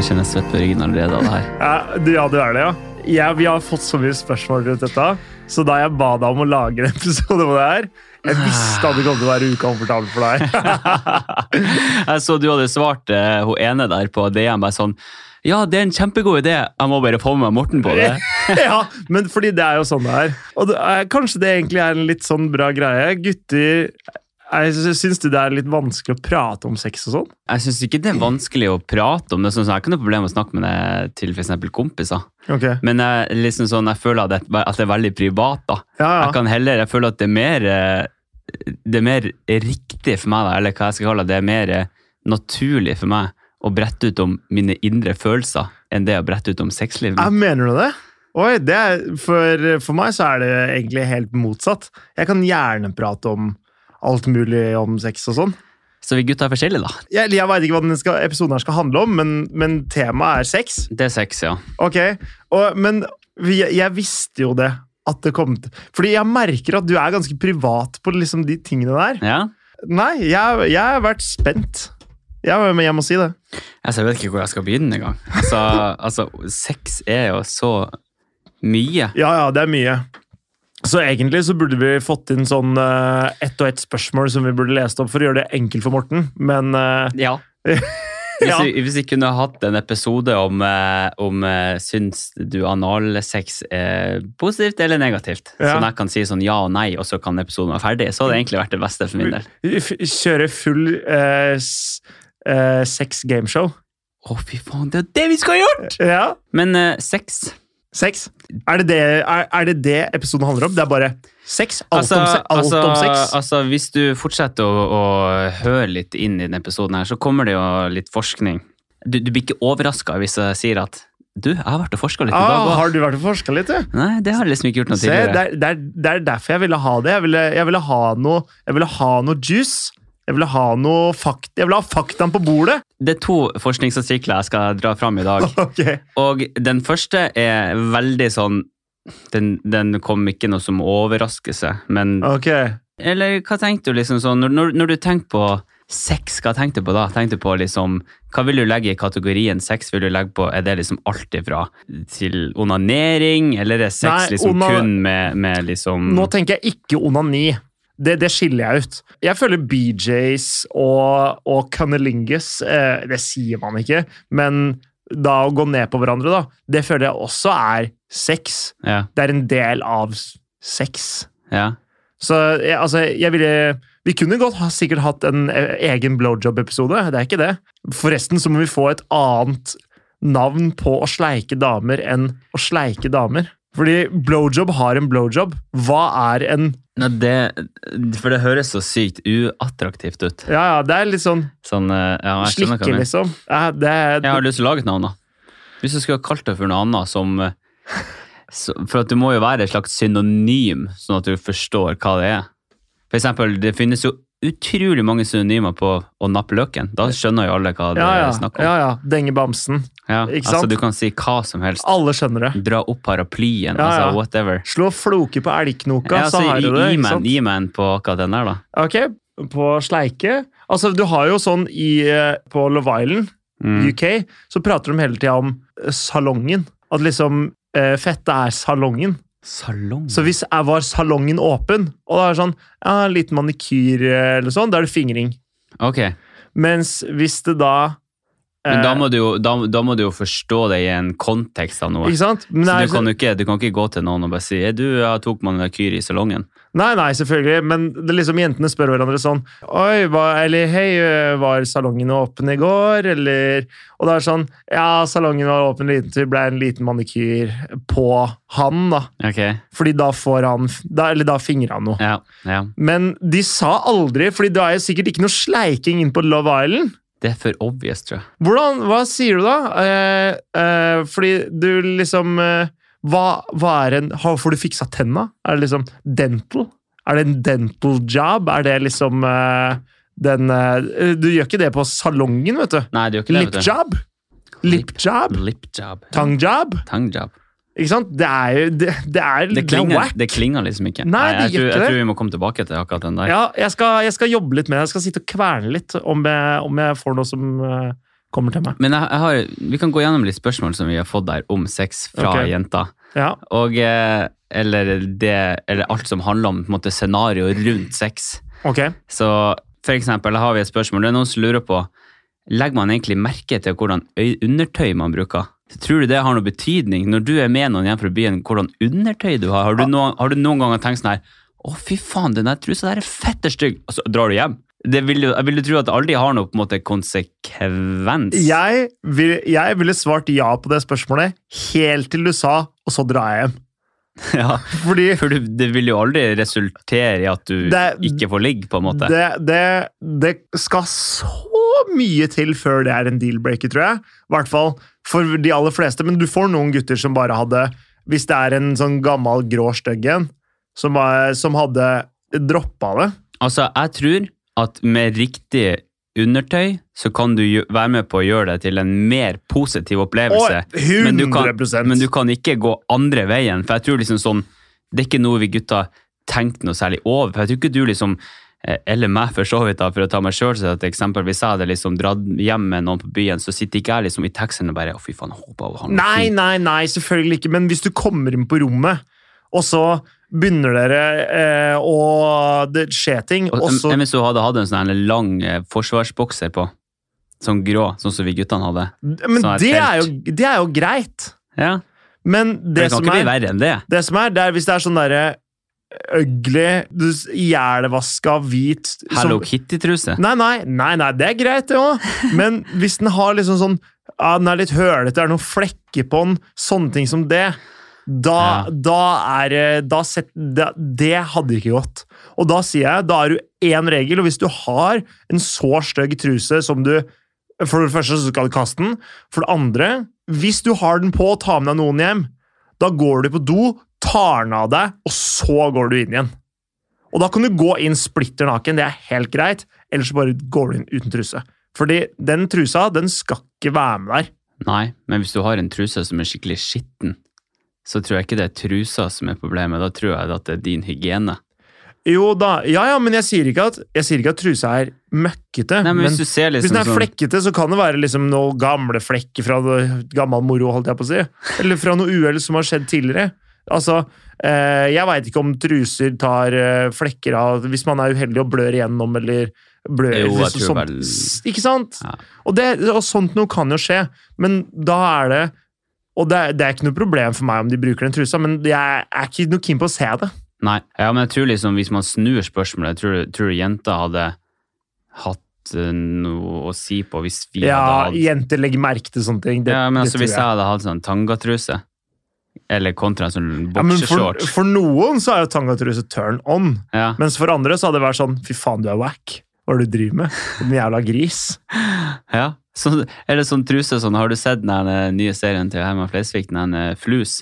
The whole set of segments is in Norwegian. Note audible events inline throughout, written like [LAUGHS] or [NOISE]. markedsføringen allerede av det her. Ja, du, ja, du er det, ja. Jeg, vi har fått så mye spørsmål rundt dette, så da jeg ba deg om å lage en episode om det her Jeg visste at det kom til å være ukomfortabelt for deg. [LAUGHS] Jeg så du hadde svart eh, hun ene der på DM bare sånn Ja, det er en kjempegod idé. Jeg må bare få med meg Morten på [LAUGHS] det. [LAUGHS] ja, men fordi det er jo sånn det er. Og det er, kanskje det egentlig er en litt sånn bra greie. Gutter jeg Syns du det er litt vanskelig å prate om sex og sånn? Jeg syns ikke det er vanskelig å prate om det. Sånn, som jeg har ikke noe problem med å snakke med det til for eksempel kompiser. Ok. Men jeg, liksom sånn, jeg føler at det, at det er veldig privat. da. Ja, Jeg ja. kan heller, jeg føler at det er mer eh, det er mer riktig for meg, da, eller hva jeg skal kalle det, det er mer eh, naturlig for meg å brette ut om mine indre følelser enn det å brette ut om sexlivet. Ja, mener du det? Oi, det er, for, for meg så er det egentlig helt motsatt. Jeg kan gjerne prate om alt mulig om sex og sånn. Så vi gutter er forskjellige, da. Jeg, jeg veit ikke hva denne skal, episoden her skal handle om, men, men temaet er sex. Det er sex, ja. Ok, og, Men jeg, jeg visste jo det. At det kom til. Fordi jeg merker at du er ganske privat på liksom de tingene der. ja. Nei, jeg, jeg har vært spent. Ja, men jeg må si det. Altså, jeg vet ikke hvor jeg skal begynne engang. [LAUGHS] Altså, altså, sex er jo så mye. Ja, ja, det er mye. Så egentlig så burde vi fått inn sånn eh, ett og ett spørsmål som vi burde lest opp for å gjøre det enkelt for Morten, men eh, Ja. Hvis, Ja. vi, hvis vi kunne hatt en episode om, eh, om eh, syns du analsex er positivt eller negativt, Ja. sånn jeg kan si sånn ja og nei, og så kan episoden være ferdig, så hadde det egentlig vært det beste for min del. f- kjøre full eh, s- eh, sex gameshow. Å, fy faen, det er det vi skal gjøre! Ja. Men eh, sex Sex. Er det det, er, er det det episoden handler om? Det er bare sex? Alt, Altså, om, se alt altså, om sex? altså, hvis du fortsetter å, å høre litt inn i denne episoden, her, så kommer det jo litt forskning. Du, du blir ikke overraska hvis jeg sier at du, jeg har vært og forska litt i dag. Ah, også». har du vært og forska litt, du? Nei, det har jeg liksom ikke gjort noe Se, det tidligere. er, det, er, det er derfor jeg ville ha det. Jeg ville, jeg ville, ha, noe, jeg ville ha noe juice. Jeg ville ha noe fakt Jeg ville ha faktaen på bordet. [LAUGHS] Det er to forskningsartikler jeg skal dra fram i dag. Ok. Og den første er veldig sånn den, den kom ikke noe som overraskelse, men Ok. Eller hva tenkte du liksom sånn, når, når, når du tenker på sex, hva tenkte du på da? Tenkte du på liksom, hva vil du legge i kategorien sex? Vil du legge på, er det liksom alt ifra til onanering, eller er sex Nei, liksom ona- kun med, med liksom Nå tenker jeg ikke onani. Det, det skiller jeg ut. Jeg føler BJs og, og cunnilingus eh, Det sier man ikke, men da å gå ned på hverandre, da, det føler jeg også er sex. Ja, Det er en del av s- sex. ja. Så jeg, altså, jeg ville Vi kunne godt ha, sikkert hatt en eh, egen blowjob-episode, det er ikke det. Forresten så må vi få et annet navn på å sleike damer enn å sleike damer. Fordi blowjob har en blowjob. Hva er en Nå, det, for det høres så sykt uattraktivt ut. Ja, ja, det er litt sånn Sånn, eh, ja, jeg skjønner hva slikke, jeg mener. liksom. Ja, det er, Jeg har lyst til å lage et navn da. Hvis du skulle ha kalt det for noe annet som... eh, Så, for at du må jo være et slags synonym, sånn at du forstår hva det er. For eksempel, det finnes jo utrolig mange synonymer på å nappe løken. Da skjønner jo alle hva det ja, er ja, snakk om. ja, ja. Denge bamsen. Ja, ikke Altså, sant? du kan si hva som helst. Alle skjønner det. Dra opp paraplyen, Ja, ja. altså whatever. Slå floke på elgknoka, Ja, så har du det. gi- gi ikke meg sant? en- Gi meg en på akkurat den der, da. Ok, på sleike. Altså, du har jo sånn i, eh, på Love Island, Mm. UK, så prater de hele tida om eh, salongen. At liksom eh, fettet er salongen. Salong. Så hvis jeg var salongen åpen, og det er sånn ja, en liten manikyr eh, eller sånn, da er det fingring. Ok, Mens hvis det da men da eh, må, du jo, da, da må du jo forstå det i en kontekst av noe. Ikke sant? Men det Så er- du kan jo ikke, du kan ikke gå til noen og bare si «Er du jeg tok manikyr i salongen. Nei, nei, selvfølgelig, men det er liksom jentene spør hverandre sånn Oi, hva, eller hei, ø, var salongen åpen i går, eller Og det er sånn Ja, salongen var åpen liten til det ble en liten manikyr på han, da. Ok, Fordi da får han da, Eller da fingrer han noe. ja, ja. Men de sa aldri, fordi det er jo sikkert ikke noe sleiking inn på Love Island. Det er for obvious, tror jeg. Hvordan, hva sier du da? Eh, eh, fordi du liksom eh, hva, hva er en har, Får du fiksa tenna? Er det liksom dental? Er det en dental job? Er det liksom eh, den eh, Du gjør ikke det på salongen, vet du. Nei, det gjør ikke Lip det, vet job? Lip job? du. Lip job. Tongue job? Tongue job. Ikke sant? Det er jo Det, det er, Det er klinger, whack. det klinger liksom ikke. Nei, det jeg, tror, gjør ikke jeg det. tror vi må komme tilbake til akkurat den der. Ja, jeg skal, jeg skal jobbe litt med det. Jeg skal sitte og kverne litt om jeg, om jeg får noe som eh, kommer til meg. Men jeg, jeg har, vi kan gå gjennom litt spørsmål som vi har fått der om sex fra Ok. jenter. Ja, Og, eh, eller, det, eller alt som handler om på en måte, scenario rundt sex. ok. Så for eksempel her har vi et spørsmål. Det er noen som lurer på Legger man egentlig merke til hvordan øy- undertøy man bruker? Tror du det har noe betydning når du er med noen hjem fra byen, hvordan undertøy du har? Har du noen, har du noen ganger tenkt sånn her Å, fy faen, den der trusa der er fette stygg! Og så drar du hjem. Det vil, jo- jeg vil jo tro at det aldri har noe på en måte konsekvens. Jeg, vil, jeg ville svart ja på det spørsmålet helt til du sa, og så drar jeg hjem. [LAUGHS] Ja. Fordi For du, det vil jo aldri resultere i at du Det- ikke får ligge, på en måte. det, det, det skal så mye til før det er en deal-breaker, tror jeg. I hvert fall for de aller fleste. Men du får noen gutter som bare hadde Hvis det er en sånn gammel, grå stygg en, som, var- som hadde droppa det Altså, jeg tror at med riktig undertøy, så kan du gjø- være med på å gjøre det til en mer positiv opplevelse. Og 100 Men du, kan, men du kan ikke gå andre veien, for jeg tror liksom sånn, det er ikke noe vi gutter tenkte noe særlig over. For jeg tror ikke du liksom, eh, eller meg for så vidt da, for å ta meg selv, så at eksempel, hvis jeg hadde liksom dratt hjem med noen på byen, så sitter ikke jeg liksom i teksten og bare, å fy faen, jeg håper hun har noe Nei, fint. nei, nei, selvfølgelig ikke. Men hvis du kommer inn på rommet, og så begynner dere eh, å Det skjer ting, Og, og så jeg, så hadde jeg hatt en sånn her lang eh, forsvarsbokser på, sånn grå, sånn som vi guttene hadde. Men sånn er det er, jo, telt. det er jo greit. Ja, Men for det, det kan som ikke bli er, verre enn det. det som er, det er hvis det er sånn derre ugly, du s- jælevaska, hvit som- Hello Kitty-truse. Nei, nei, nei, nei, det er greit, det òg. Men hvis den har liksom sånn ja, Den er litt hølete, det er noen flekker på den, sånne ting som det. Da, Ja. da er det- da sett, det, det hadde ikke gått. Og da sier jeg, da er du én regel, og hvis du har en så stygg truse som du For det første så skal du kaste den. For det andre, hvis du har den på og tar med deg noen hjem, da går du på do, tar den av deg, og så går du inn igjen. Og da kan du gå inn splitter naken, det er helt greit. Ellers så bare går du inn uten truse. Fordi den trusa, den skal ikke være med der. Nei, men hvis du har en truse som er skikkelig skitten, så tror jeg ikke det er trusa som er problemet. Da tror jeg at det er din hygiene. Jo da, ja ja, men jeg sier ikke at, jeg sier ikke at trusa er møkkete. Nei, men men Hvis du ser hvis liksom den er sånn- flekkete, så kan det være liksom noen gamle flekker fra det- gammel moro, holdt jeg på å si. Eller fra noe uhell som har skjedd tidligere. Altså, eh, jeg veit ikke om truser tar eh, flekker av hvis man er uheldig og blør igjennom, eller blør Jo, jeg liksom tror sånt. vel- S- Ikke sant? Ja. Og, det, og sånt noe kan jo skje, men da er det og det er, det er ikke noe problem for meg om de bruker den trusa, men jeg er ikke noe keen på å se det. Nei, ja, men jeg tror liksom hvis man snur spørsmålet, tror du, tror du jenta hadde hatt eh, noe å si på hvis vi Ja, hadde hatt Jenter legger merke til sånne ting. Det, Ja, men det altså tror Hvis jeg. jeg hadde hatt sånn tangatruse, eller kontra en sånn Ja, men for, bokseshorts for noen så er jo tangatruse turn on, ja. mens for andre så hadde det vært sånn Fy faen, du er wack. Hva er det du driver med? Din jævla gris. Ja. [LAUGHS] Sånn, eller sånn truse sånn, Har du sett den her, eh, nye serien til Herman Flesvig, den her, eh, Flus?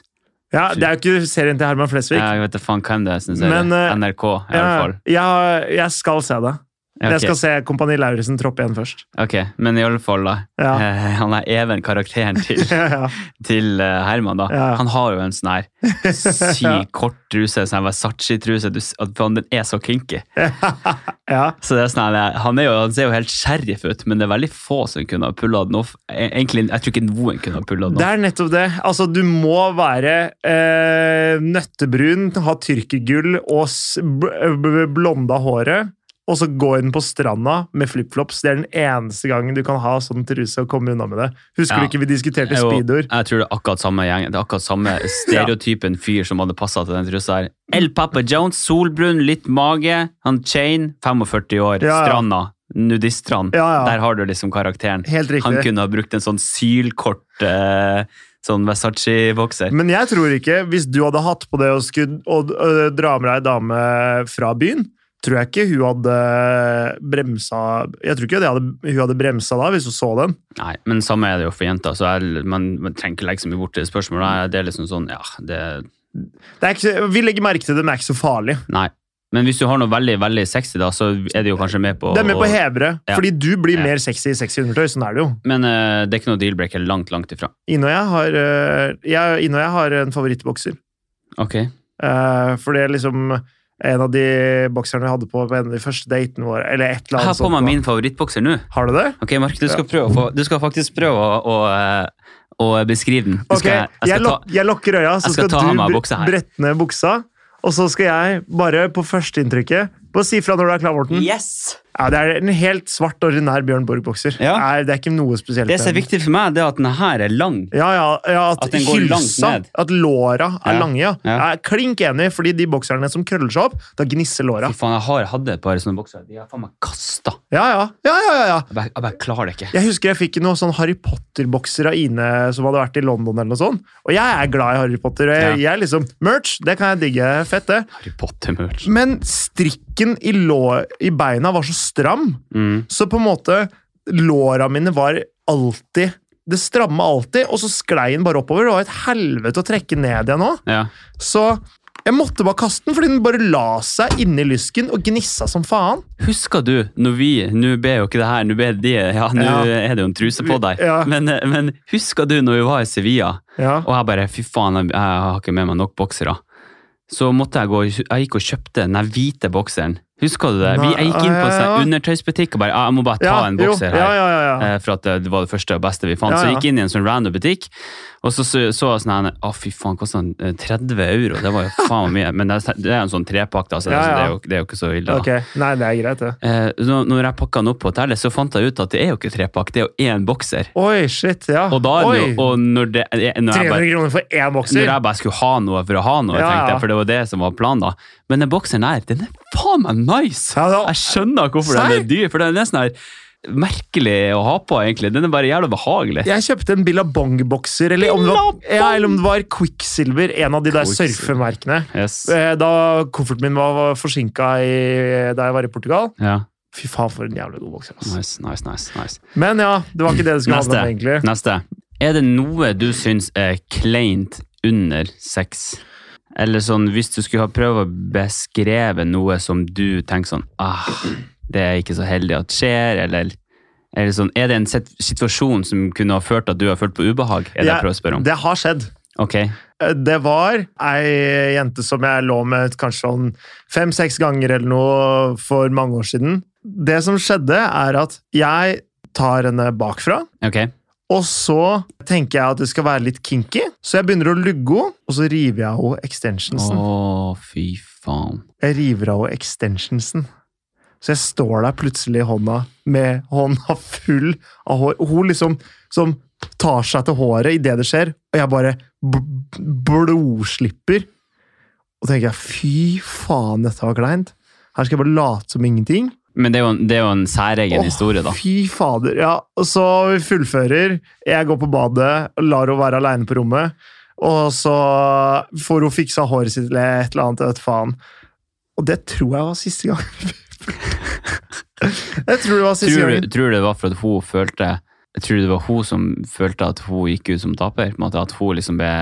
Ja, Det er jo ikke serien til Herman Flesvig. Ja, jeg vet da faen hvem det er som ser Men, det. eh, NRK, i Ja, hvert fall. jeg, jeg skal se det. Men Ja, Jeg skal se Kompani Lauritzen troppe igjen først. Ok, men i alle fall da. Ja. Eh, [LAUGHS] han er even karakteren til, [LAUGHS] Ja, ja. til eh, Herman da. Ja. Han har jo en sånn her syk [LAUGHS] Ja. kort truse, sånn Versace-truse. Du s- at faen, Den er så kinky. ja. Så det er sånn her, han, er jo, han ser jo helt sheriff ut, men det er veldig få som kunne ha pullet den off. E- Egentlig, jeg tror ikke noen kunne ha pullet den Det off. er nettopp det. Altså, du må være eh, nøttebrun, ha tyrkergull og s- bl- bl- blonda håret, og så gå inn på stranda med flipflops. Det er den eneste gangen du kan ha sånn truse og komme unna med det. Husker Ja. du ikke vi diskuterte Jo, speedoer? Jeg tror det er akkurat samme gjeng. Det er akkurat samme [LAUGHS] stereotypen fyr som hadde passet til den trusa her. El Papa Jones, solbrun, litt mage, han Chain, 45 år, Ja, ja. stranda, nudiststrand. Ja, ja. Der har du liksom karakteren. Helt Han riktig. kunne ha brukt en sånn sylkort eh, sånn Versace-bokser. Men jeg tror ikke, hvis du hadde hatt på det og, skulle, og øh, dra med deg ei dame fra byen, tror jeg ikke hun hadde bremsa Jeg tror ikke det hadde, hun hadde bremsa da, hvis hun så den. Nei, men samme er det jo for jenter, så jeg, man, man trenger ikke legge så mye bort til spørsmålet. Det er liksom sånn, ja, det Det er ikke, vi legger merke til det, men det er ikke så farlig. Nei. Men hvis du har noe veldig, veldig sexy, da, så er det jo kanskje med på Det er med på å å- hevre, Ja. fordi du blir Ja. mer sexy i sexy undertøy. Sånn er det jo. Men eh, det er ikke noe deal-breaker langt, langt ifra. Ine og jeg har, eh, øh, jeg, Ine og jeg har en favorittbokser. Ok. Eh, for det er liksom en av de bokserne jeg hadde på på en av de første datene våre. eller et Jeg eller annet har på sånt meg da. min favorittbokser nå. Har du det? Ok, Mark, du skal, prøve å få, du skal faktisk prøve å, å, eh, å beskrive den. Du Ok, skal, jeg, jeg skal lok jeg lukker øya, så jeg skal skal, ta av du meg bre- buksa her. brette ned buksa. Og så skal jeg bare på førsteinntrykket Bare si fra når du er ta... klar, Morten. Yes! Ja, det er en helt svart, ordinær Bjørn Borg-bokser. Ja. Er- Det er ikke noe spesielt. Det som er med den. viktig for meg, det er at denne her er lang. Ja, ja, ja, at, At den går langt hylsa, ned. at låra er Ja, lange, ja. ja. Jeg er klink enig, fordi de bokserne som krøller seg opp, da gnisser låra. Fy faen, jeg har hatt et par sånne bokser. De har faen meg kasta. Ja, ja, ja, ja, ja, ja. Jeg, bare- jeg bare klarer det ikke. Jeg husker jeg fikk noen sånn Harry Potter-bokser av Ine som hadde vært i London. eller noe sånt. Og jeg er glad i Harry Potter. og Jeg, Ja. jeg er liksom, Merch, det kan jeg digge. Fett, det. Harry Potter-merch. Men strikken i, lå, i beina var så stram, Mm. så på en måte Låra mine var alltid Det stramme alltid, og så sklei den bare oppover. Det var et helvete å trekke ned igjen òg. Ja. Så jeg måtte bare kaste den, fordi den bare la seg inni lysken og gnissa som faen. Husker du når vi Nå ber jo ikke det her, nå ber de Ja, nå Ja. er det jo en truse på deg. Ja. Men, eh, men husker du når vi var i Sevilla, Ja. og jeg bare Fy faen, jeg, jeg har ikke med meg nok boksere. Så måtte jeg gå Jeg gikk og kjøpte den der hvite bokseren. Husker du det? Vi, jeg gikk inn på en Nei, ja. sånn undertøysbutikk og bare «Ah, Jeg må bare ta en jo, bokser her. Ja, ja, ja, ja. Eh, For at eh, det var det første og beste vi fant. Ja, Så ja. jeg gikk inn i en sånn random butikk, og så så, så jeg sånn her Å, fy faen, kosta den eh, 30 euro? Det var jo faen mye. Men det er, det er en sånn trepakt, altså. Ja, så Det, ja. er jo, det er jo ikke så ille. da. Ok, Nei, det er greit, det. Eh, når når jeg pakka den opp på hotellet, så fant jeg ut at det er jo ikke trepakk, det er jo én bokser. Oi, shit, ja. Og da er det jo, Oi. og når, det, når, jeg 300 bare, kroner for én bokser? når jeg bare skulle ha noe for å ha noe, Ja, tenkte ja. jeg, for det var det som var planen da. Men den bokseren her, den er faen meg nice! Ja, da- Jeg skjønner hvorfor den Serr? er dyr, for den er nesten her merkelig å ha på, egentlig. Den er bare jævla behagelig. Jeg kjøpte en Billabong-bokser, eller, om det var- Billabong! ja, eller om det var Quicksilver, en av de der Quicksilver. surfemerkene. Yes. Eh, Da kofferten min var forsinka i- da jeg var i Portugal. Ja, Fy faen, for en jævlig god bokser. ass. nice, nice, nice, nice. Men ja, det var ikke det det skulle handle om, Neste. egentlig. Neste. Er det noe du syns er kleint under sex? Eller sånn, hvis du skulle ha prøvd å beskreve noe som du tenker sånn ah, Det er ikke så heldig at skjer, eller, eller sånn, Er det en sit- situasjon som kunne ha ført til at du har følt på ubehag? Er det jeg prøver å spørre om? Det har skjedd. Ok. Eh, Det var ei jente som jeg lå med kanskje sånn fem-seks ganger eller noe for mange år siden. Det som skjedde, er at jeg tar henne bakfra, ok. og så tenker jeg at det skal være litt kinky, så jeg begynner å lugge henne, og så river jeg henne extensionsen. Å, fy faen. Jeg river av henne extensionsen. Så jeg står der plutselig i hånda med hånda full av hår. Og hun liksom som tar seg til håret idet det skjer, og jeg bare bl- blodslipper. Og tenker jeg fy faen, dette var kleint. Her skal jeg bare late som ingenting. Men det er jo en, det er jo en særegen Åh, historie, da. Fy fader. Ja, og så vi fullfører. Jeg går på badet, lar henne være aleine på rommet. Og så får hun fiksa håret sitt eller et eller annet. Jeg vet faen. Og det tror jeg var siste gang. [LAUGHS] jeg tror det var siste Tror, du- gang. tror du det var for at hun følte Tror du det var hun som følte at hun gikk ut som taper? På en måte At hun liksom ble,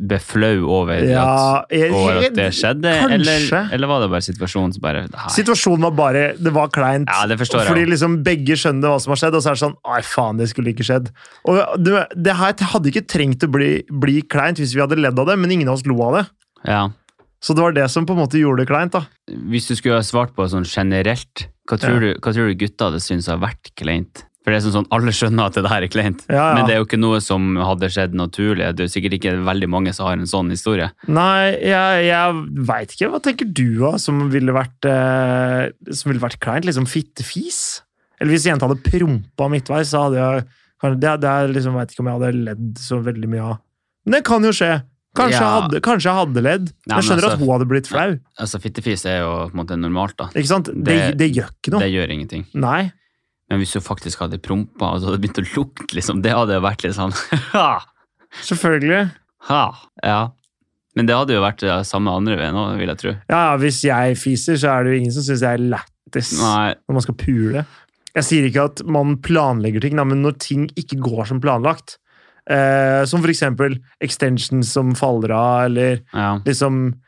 ble flau over, Ja, at, over at det jeg, skjedde? Eller, kanskje. eller var det bare situasjonen som bare det her- situasjonen var bare Det var kleint. Ja, det forstår jeg. Fordi liksom begge skjønner hva som har skjedd, og så er det sånn Ai, faen, det skulle ikke skjedd. Og du, Det her hadde ikke trengt å bli, bli kleint hvis vi hadde ledd av det, men ingen av oss lo av det. Ja. Så det var det som på en måte gjorde det kleint, da. Hvis du skulle ha svart på sånn generelt, hva tror, du, hva tror du gutta hadde syntes har vært kleint? For det er sånn, sånn alle skjønner at det der er kleint, Ja, ja. men det er jo ikke noe som hadde skjedd naturlig. Det er jo sikkert ikke veldig mange som har en sånn historie. Nei, jeg, jeg veit ikke. Hva tenker du av som ville vært eh, Som ville vært kleint? Liksom fittefis? Eller hvis jenta hadde prompa midtveis, så hadde jeg kan- Det, det er liksom, veit ikke om jeg hadde ledd så veldig mye av. Men det kan jo skje. Kanskje, jeg, Ja. hadde, kanskje jeg hadde ledd. Nei, jeg men skjønner altså- at hun hadde blitt flau. Altså, Fittefis er jo på en måte normalt, da. Ikke sant? Det, det, Det- gjør ikke noe. Det gjør ingenting. Nei. Men hvis du faktisk hadde prompa og så hadde det begynt å lukte, liksom, det hadde jo vært litt sånn [LAUGHS] ha, Selvfølgelig. ha, ja. Men det hadde jo vært det samme andre veien òg, vil jeg tro. Ja, ja, hvis jeg fiser, så er det jo ingen som syns jeg er lættis. Nei, når man skal pule. Jeg sier ikke at man planlegger ting, da, men når ting ikke går som planlagt, eh, som for eksempel extensions som faller av, eller ja. liksom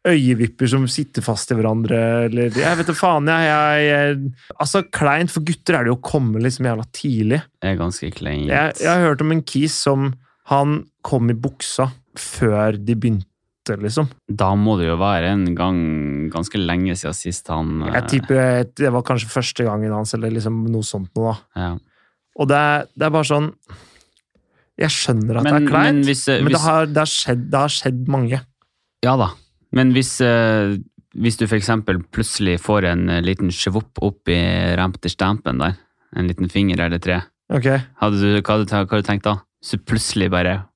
øyevipper som sitter fast i hverandre, eller jeg vet da faen, jeg, jeg, jeg Altså, kleint for gutter er det jo å komme liksom jævla tidlig. Det er ganske kleint. Jeg, jeg har hørt om en kis som han kom i buksa før de begynte ofte, liksom. Da må det jo være en gang ganske lenge siden sist han eh, Jeg tipper jeg- det var kanskje første gangen hans, eller liksom noe sånt noe, da. eh, ja. Og det er, det er bare sånn Jeg skjønner at Men, det er kleint, men men, hvis, eh, det, hvis har, det, har skjedd, det har skjedd mange. Ja da. Men hvis, eh, hvis du f.eks. plutselig får en eh, liten sjevopp opp i rampeterstampen der, en liten finger eller tre, Ok. hadde du, hva hadde du- hva hadde du tenkt da? Så plutselig bare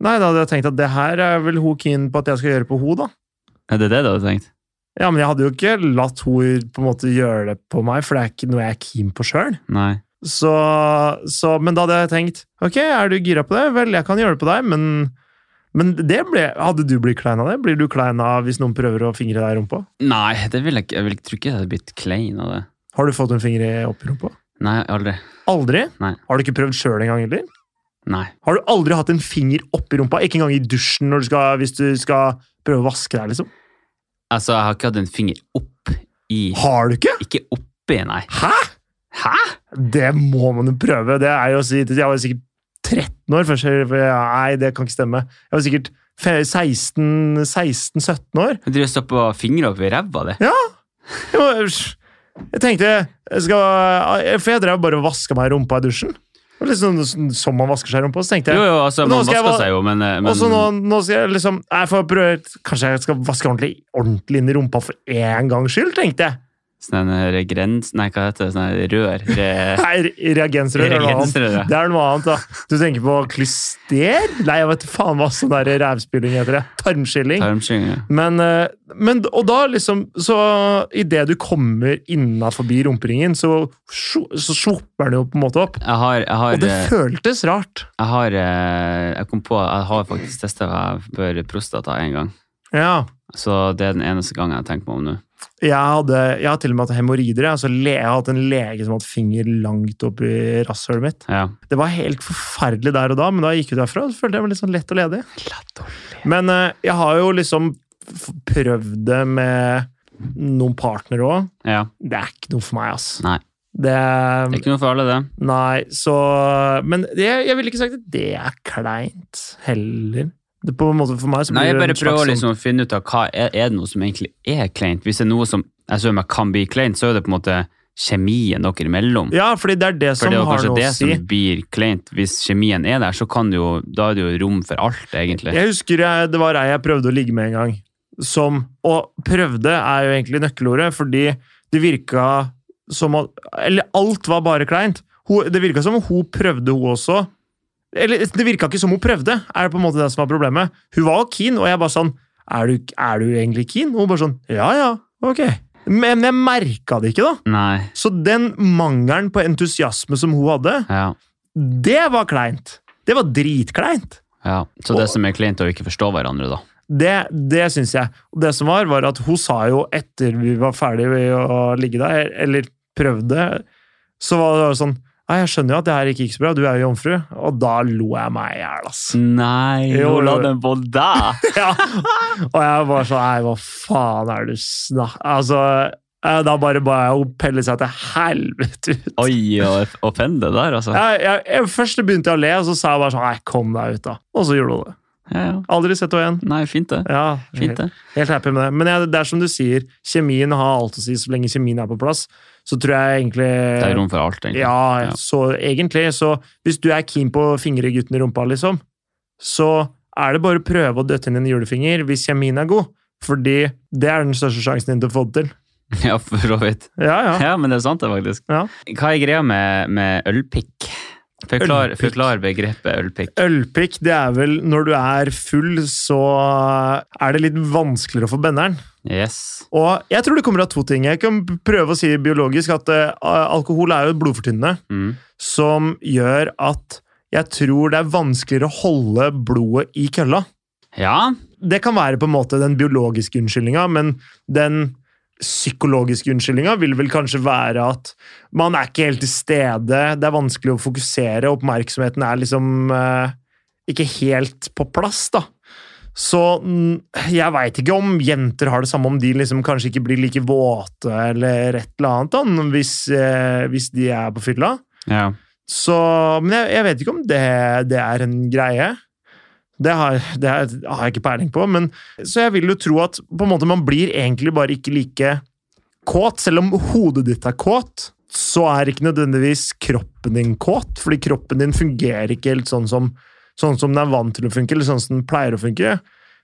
Nei, da hadde jeg tenkt at det her er vel hun keen på at jeg skal gjøre på henne, da. Er det det du hadde tenkt? Ja, men jeg hadde jo ikke latt hun på en måte gjøre det på meg, for det er ikke noe jeg er keen på sjøl. Nei. Så, så, men da hadde jeg tenkt Ok, er du gira på det? Vel, jeg kan gjøre det på deg, men, men det ble, hadde du blitt klein av det? Blir du klein av hvis noen prøver å fingre deg i rumpa? Nei, det vil jeg ikke. Jeg vil ikke tror ikke jeg hadde blitt klein av det. Har du fått en finger i- opp i rumpa? Nei, aldri. Aldri? Nei. Har du ikke prøvd sjøl engang heller? Nei. Har du aldri hatt en finger opp i rumpa? Ikke engang i dusjen når du skal, hvis du skal prøve å vaske deg, liksom? Altså, jeg har ikke hatt en finger opp i Har du ikke? Ikke oppi, nei. Hæ? Hæ? Det må man jo prøve. Det er jo å si, jeg var sikkert 13 år først. For jeg, nei, det kan ikke stemme. Jeg var sikkert 16-17 år. Du driver og stopper fingre opp i ræva di. Jeg, var, jeg tenkte jeg skal, For jeg drev bare og vaska meg i rumpa i dusjen. Det var litt sånn som man vasker seg i rumpa. Så tenkte Jo, jeg jo, altså, Men nå man skal jeg vasker va- seg jo, men, eh, men og så nå, nå skal jeg liksom jeg får prøve, Kanskje jeg skal vaske ordentlig, ordentlig inn i rumpa for én gangs skyld, tenkte jeg. Sånn en grens... Nei, hva heter det? Sånn en rør? [LAUGHS] Re... Nei, re- reagensrør er noe annet. Reagensrør, ja. Det er noe annet, da. Du tenker på klyster? Nei, jeg vet faen hva sånn der rævspilling heter. det. Tarmskilling. Tarmslyng, ja. Men, eh, men Og da liksom Så idet du kommer innafor rumperingen, så sjo- så slupper den jo på en måte opp. Jeg har, jeg Og har, det eh, føltes rart. jeg har eh, Jeg kom på Jeg har faktisk testa jeg bør prostata en gang. Ja. Så det er den eneste gangen jeg tenker meg om nå. Jeg, hadde, jeg har til og med hatt hemoroider. jeg. Altså, le- jeg har hatt en lege som har hatt finger langt opp i rasshølet mitt. Ja. Det var helt forferdelig der og da, men da jeg gikk ut derfra, så følte jeg meg litt sånn lett og ledig. Men eh, jeg har jo liksom f- prøvd det med noen partnere òg. ja. Det er ikke noe for meg, ass. Nei. Det er Det, ikke noe for alle, det. nei, så Men det, jeg ville ikke sagt at det er kleint, heller. Det på en måte for meg så blir Nei, jeg det en bare prøver slags sånn- liksom å finne ut av hva er, er det noe som egentlig er kleint. Hvis det er noe som jeg ser meg kan bli kleint, så er det på en måte kjemien dere imellom. Ja, fordi det er det For som det er jo har kanskje noe det å si. som blir kleint. Hvis kjemien er der, så kan det jo, da er det jo rom for alt, egentlig. Jeg husker jeg, det var ei jeg prøvde å ligge med en gang. Som, og prøvde er jo egentlig nøkkelordet, fordi det virka som at Eller alt var bare kleint. Hun, det virka som om hun prøvde, hun også. Eller det virka ikke som hun prøvde, er på en måte det som var problemet. Hun var jo keen, og jeg bare sånn Er du, er du egentlig keen? Og hun bare sånn Ja, ja, ok. Men jeg merka det ikke, da. Nei. Så den mangelen på entusiasme som hun hadde, Ja. det var kleint. Det var dritkleint. ja. Så det Og- som er kleint, er å ikke forstå hverandre, [LAUGHS] da. Det, det syns jeg. Og det som var, var at hun sa jo etter vi var ferdige ved å ligge der, eller prøvde, så var det sånn Nei, jeg skjønner jo at det her ikke gikk så bra, du er jo jomfru. Og da lo jeg meg i hjel, ass. [LAUGHS] Nei, Jo, nå jo, la jo. den på deg! [LAUGHS] Ja. Og jeg var sånn Nei, hva faen er du snakk... Altså, eh, da bare ba jeg henne pelle seg til helvete ut. Oi, å offende der, altså. Ja, Jeg, jeg, jeg, først begynte jeg å le, og så sa jeg bare sånn Nei, kom deg ut, da. Og så gjorde hun det. ja. Aldri sett henne igjen. Nei, fint det. Ja, Fint det. Helt happy med det. Men jeg, det er som du sier, kjemien har alt å si. Så lenge kjemien er på plass, så tror jeg egentlig Det er rom for alt, egentlig. Eh, Ja, Ja. så egentlig. Så hvis du er keen på å fingre gutten i rumpa, liksom, så er det bare å prøve å døtte inn en julefinger hvis kjemien er god. Fordi det er den største sjansen din til å få det til. [LAUGHS] Ja, for så vidt. Ja, [LAUGHS] ja. Ja, men det er sant det, faktisk. Ja. Hva er greia med, med ølpikk? Forklar, Ølpikk. forklar begrepet ølpikk. Ølpikk, det er vel når du er full, så er det litt vanskeligere å få benderen. Yes. Og jeg tror det kommer av to ting. Jeg kan prøve å si biologisk at eh, alkohol er jo et blodfortynnende. Mm. som gjør at jeg tror det er vanskeligere å holde blodet i kølla. Ja, Det kan være på en måte den biologiske unnskyldninga, men den psykologiske unnskyldninga vil vel kanskje være at man er ikke helt til stede, det er vanskelig å fokusere, oppmerksomheten er liksom eh, ikke helt på plass, da. Så mm, jeg veit ikke om jenter har det samme, om de liksom kanskje ikke blir like våte eller et eller annet da, hvis, eh, hvis de er på fylla. ja. Så, men jeg, jeg vet ikke om det, det er en greie. Det har, det har det har jeg ikke peiling på, men så jeg vil jo tro at på en måte man blir egentlig bare ikke like kåt. Selv om hodet ditt er kåt, så er ikke nødvendigvis kroppen din kåt, fordi kroppen din fungerer ikke helt sånn som, sånn som den er vant til å funke, eller sånn som den pleier å funke.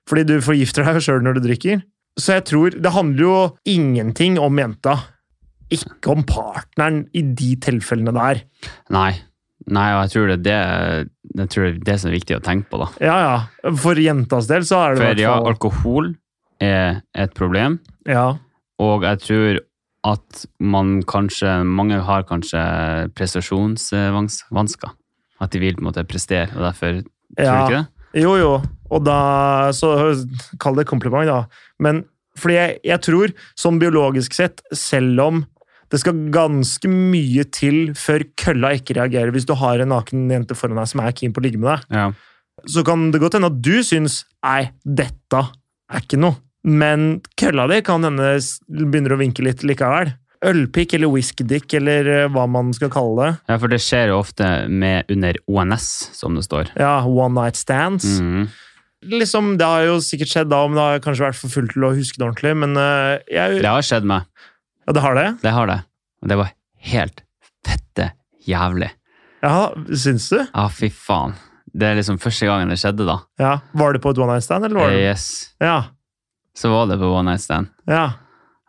Fordi du forgifter deg sjøl når du drikker. Så jeg tror Det handler jo ingenting om jenta. Ikke om partneren i de tilfellene der. Nei. Nei, og jeg tror det er det, jeg tror det, er det som er viktig å tenke på, da. Ja, ja. For jentas del så er det i For hvert ja, fall- alkohol er et problem, ja. og jeg tror at man kanskje, mange har kanskje prestasjonsvansker. At de vil på en måte prestere, og derfor tror Ja. du ikke det? Jo, jo. Og da Så kall det kompliment, da. Men fordi jeg, jeg tror, sånn biologisk sett, selv om det skal ganske mye til før kølla ikke reagerer hvis du har en naken jente foran deg som er keen på å ligge med deg, Ja. så kan det godt hende at du syns nei, dette er ikke noe. Men kølla di kan hende s- begynner å vinke litt likevel. Ølpikk eller whiskydick eller eh, hva man skal kalle det. ja, for det skjer jo ofte med under ONS, som det står. Ja, one night stands. Mhm. liksom, det har jo sikkert skjedd da, men det har kanskje vært for fullt til å huske det ordentlig. Men øh, jeg, Det ja. har skjedd meg. det har det? Det har det. Og det var helt fette jævlig. Ja, syns du? Ja, fy faen. Det er liksom første gangen det skjedde, da. Ja. Var det på et one night stand, eller var det Yes. Ja. Så var det på One Night Stand. ja.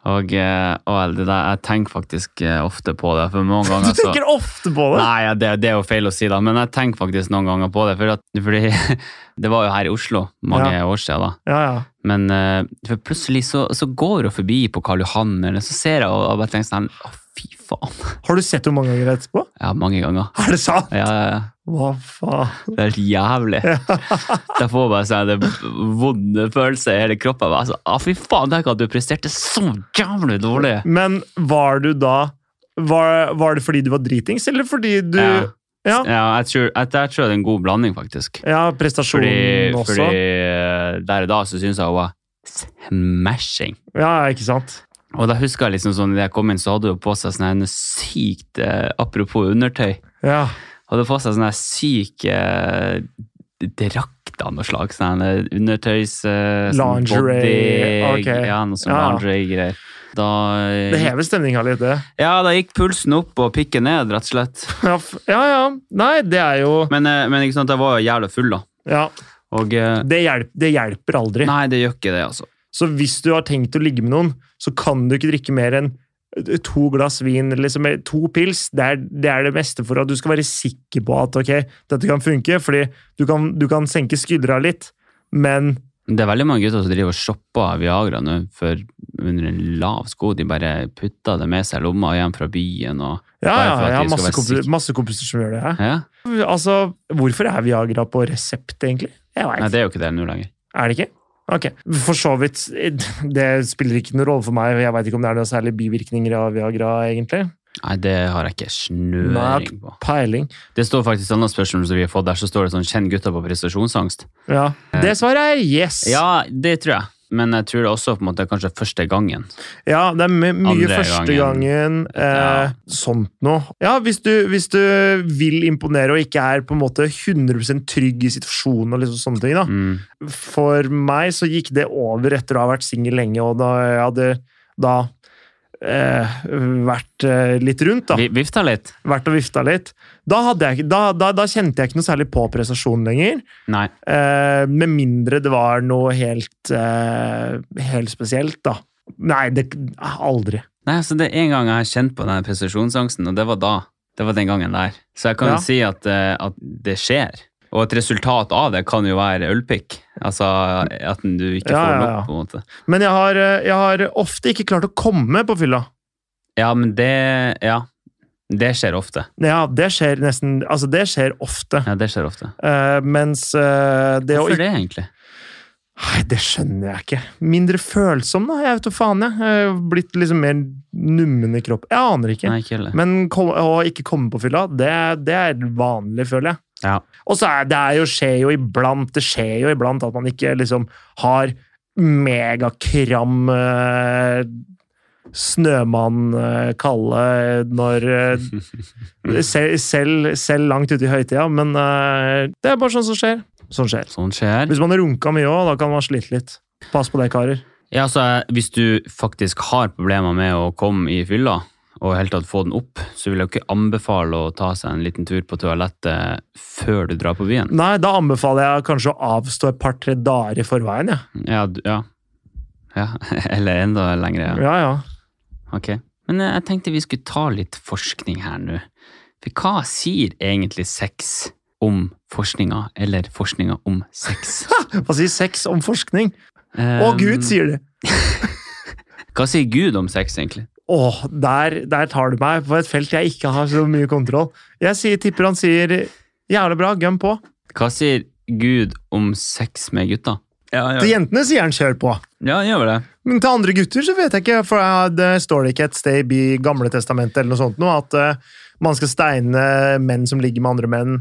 Og, eh, og det der, jeg tenker faktisk eh, ofte på det. For mange [LAUGHS] Du ganger så tenker ofte på det! Nei, ja, det, det er jo feil å si, da, men jeg tenker faktisk noen ganger på det. For at, fordi [LAUGHS] det var jo her i Oslo mange år siden, da. Ja, ja. Men eh, for plutselig så, så går hun forbi på Karl Johan, eller så ser jeg og, og bare tenker sånn Å, fy faen. Har du sett henne mange ganger etterpå? [LAUGHS] Ja, mange ganger. Er det sant?! Ja, ja, ja. Hva faen? Det er helt jævlig. [LAUGHS] Jeg får bare sånn en vond følelse i hele kroppen. Jeg bare sånn, «Å, fy faen, tenk at du presterte så jævlig dårlig! Men var du da var, var det fordi du var dritings, eller fordi du Ja. Ja, Ja, jeg tror, jeg, der tror jeg det er en god blanding, faktisk. ja prestasjonen Fordi, også. fordi eh, der og da så syns jeg hun var smashing. Ja, ikke sant? Og da husker jeg liksom sånn, da jeg kom inn, så hadde hun på seg sånn en sykt eh, Apropos undertøy. Ja. Hadde på seg sånn her syk eh, drakt av noe slag. Sånn her undertøys... Eh, sånn Lingerie, body- ok. Ja, noe sånn Ja. lingerie-greier. Da, eh, Det hever stemninga litt, det. ja, da gikk pulsen opp og pikken ned, rett og slett. Ja, f- ja. ja. Nei, det er jo Men, eh, men ikke sant, jeg var jo jævla full, da. Ja. Og eh, Det, hjelp, det hjelper aldri. Nei, det gjør ikke det, altså. Så hvis du har tenkt å ligge med noen, så kan du ikke drikke mer enn eh, to glass vin, liksom eller to pils. Det er, det er det meste for at du skal være sikker på at ok, dette kan funke, fordi du kan, du kan senke skuldra litt, men Det er veldig mange gutter som driver og shopper Viagra nå for under en lav sko. De bare putter det med seg i lomma hjem fra byen og ja, Bare ja, for at jeg vi har skal masse, være kompiser, sikre. masse kompiser som gjør det. her. ja. Altså, hvorfor er Viagra på resept, egentlig? Jeg vet Nei, ikke. det er jo ikke det nå lenger. Er det ikke? Ok. For så vidt. [LAUGHS] Det spiller ikke noen rolle for meg, og jeg veit ikke om det er noen særlige bivirkninger av Viagra, egentlig. Nei, det har jeg ikke snøring på. Peiling. Det står faktisk et annet spørsmål som vi har fått der, så står det sånn 'kjenn gutter på prestasjonsangst'. Ja. Det svaret er yes! Eh. Ja, det tror jeg. Men jeg tror det også på en måte er kanskje første gangen. Ja, det er my mye Andre første gangen. gangen. eh, Ja. Sånt noe. Ja, hvis du, hvis du vil imponere og ikke er på en måte 100 trygg i situasjonen og liksom sånne ting, da. Mm. For meg så gikk det over etter å ha vært singel lenge, og da jeg hadde da eh, vært eh, litt rundt, da. Vi, vifta litt? Vært og vifta litt. Da, hadde jeg, ikke- da, da, da kjente jeg ikke noe særlig på prestasjon lenger. Nei. Eh, med mindre det var noe helt, eh, helt spesielt, da. Nei, det aldri. Nei, altså det er en gang jeg har kjent på den prestasjonsangsten, og det var da. Det var den gangen der. Så jeg kan Ja. jo si at, eh, at det skjer. Og et resultat av det kan jo være ølpikk. Altså at du ikke Ja, får ja, det ja. opp, på en måte. Men jeg har, eh, jeg har ofte ikke klart å komme på fylla. Ja, men det Ja. Det skjer ofte. Ja, det skjer nesten Altså, det skjer ofte. Ja, det skjer ofte. Eh, mens eh, det å Hvorfor ikke det, egentlig? Nei, det skjønner jeg ikke. Mindre følsom, da. Jeg vet da faen, jeg. jeg. har Blitt liksom mer nummen i kroppen. Jeg aner ikke. Nei, ikke heller. Men kom, å ikke komme på fylla, det, det er vanlig, føler jeg. Ja. Og så er det er jo, skjer jo iblant det skjer jo iblant at man ikke liksom har megakram eh, snømann-kalle når eh, se, selv, selv langt ute i høytida, men eh, det er bare sånn som skjer. Sånn skjer. Sånn skjer. Hvis man har runka mye òg, da kan man slite litt. Pass på det, karer. Ja, altså, hvis du faktisk har problemer med å komme i fylla, og i hele tatt få den opp, så vil jeg jo ikke anbefale å ta seg en liten tur på toalettet før du drar på byen. Nei, da anbefaler jeg kanskje å avstå et par-tre dager i forveien, ja. Ja, du- ja. ja. [LAUGHS] Eller enda lengre. Ja. Ja, ja. Ok. Men eh, jeg tenkte vi skulle ta litt forskning her nå. For hva sier egentlig sex om forskninga, eller forskninga om [LAUGHS] sex? Ehm, Hva sier sex om forskning? Å, Um, Gud, sier de! Hva sier Gud om sex, egentlig? Åh, der, der tar du meg på et felt jeg ikke har så mye kontroll. Jeg sier, tipper han sier jævlig bra, gønn på. Hva sier Gud om sex med gutta? Ja, Til jentene sier han kjør på. ja han gjør vel det. Men til andre gutter så vet jeg ikke, for jeg- det står det ikke et sted i Gamle testamentet eller noe sånt nå, at eh, man skal steine menn som ligger med andre menn,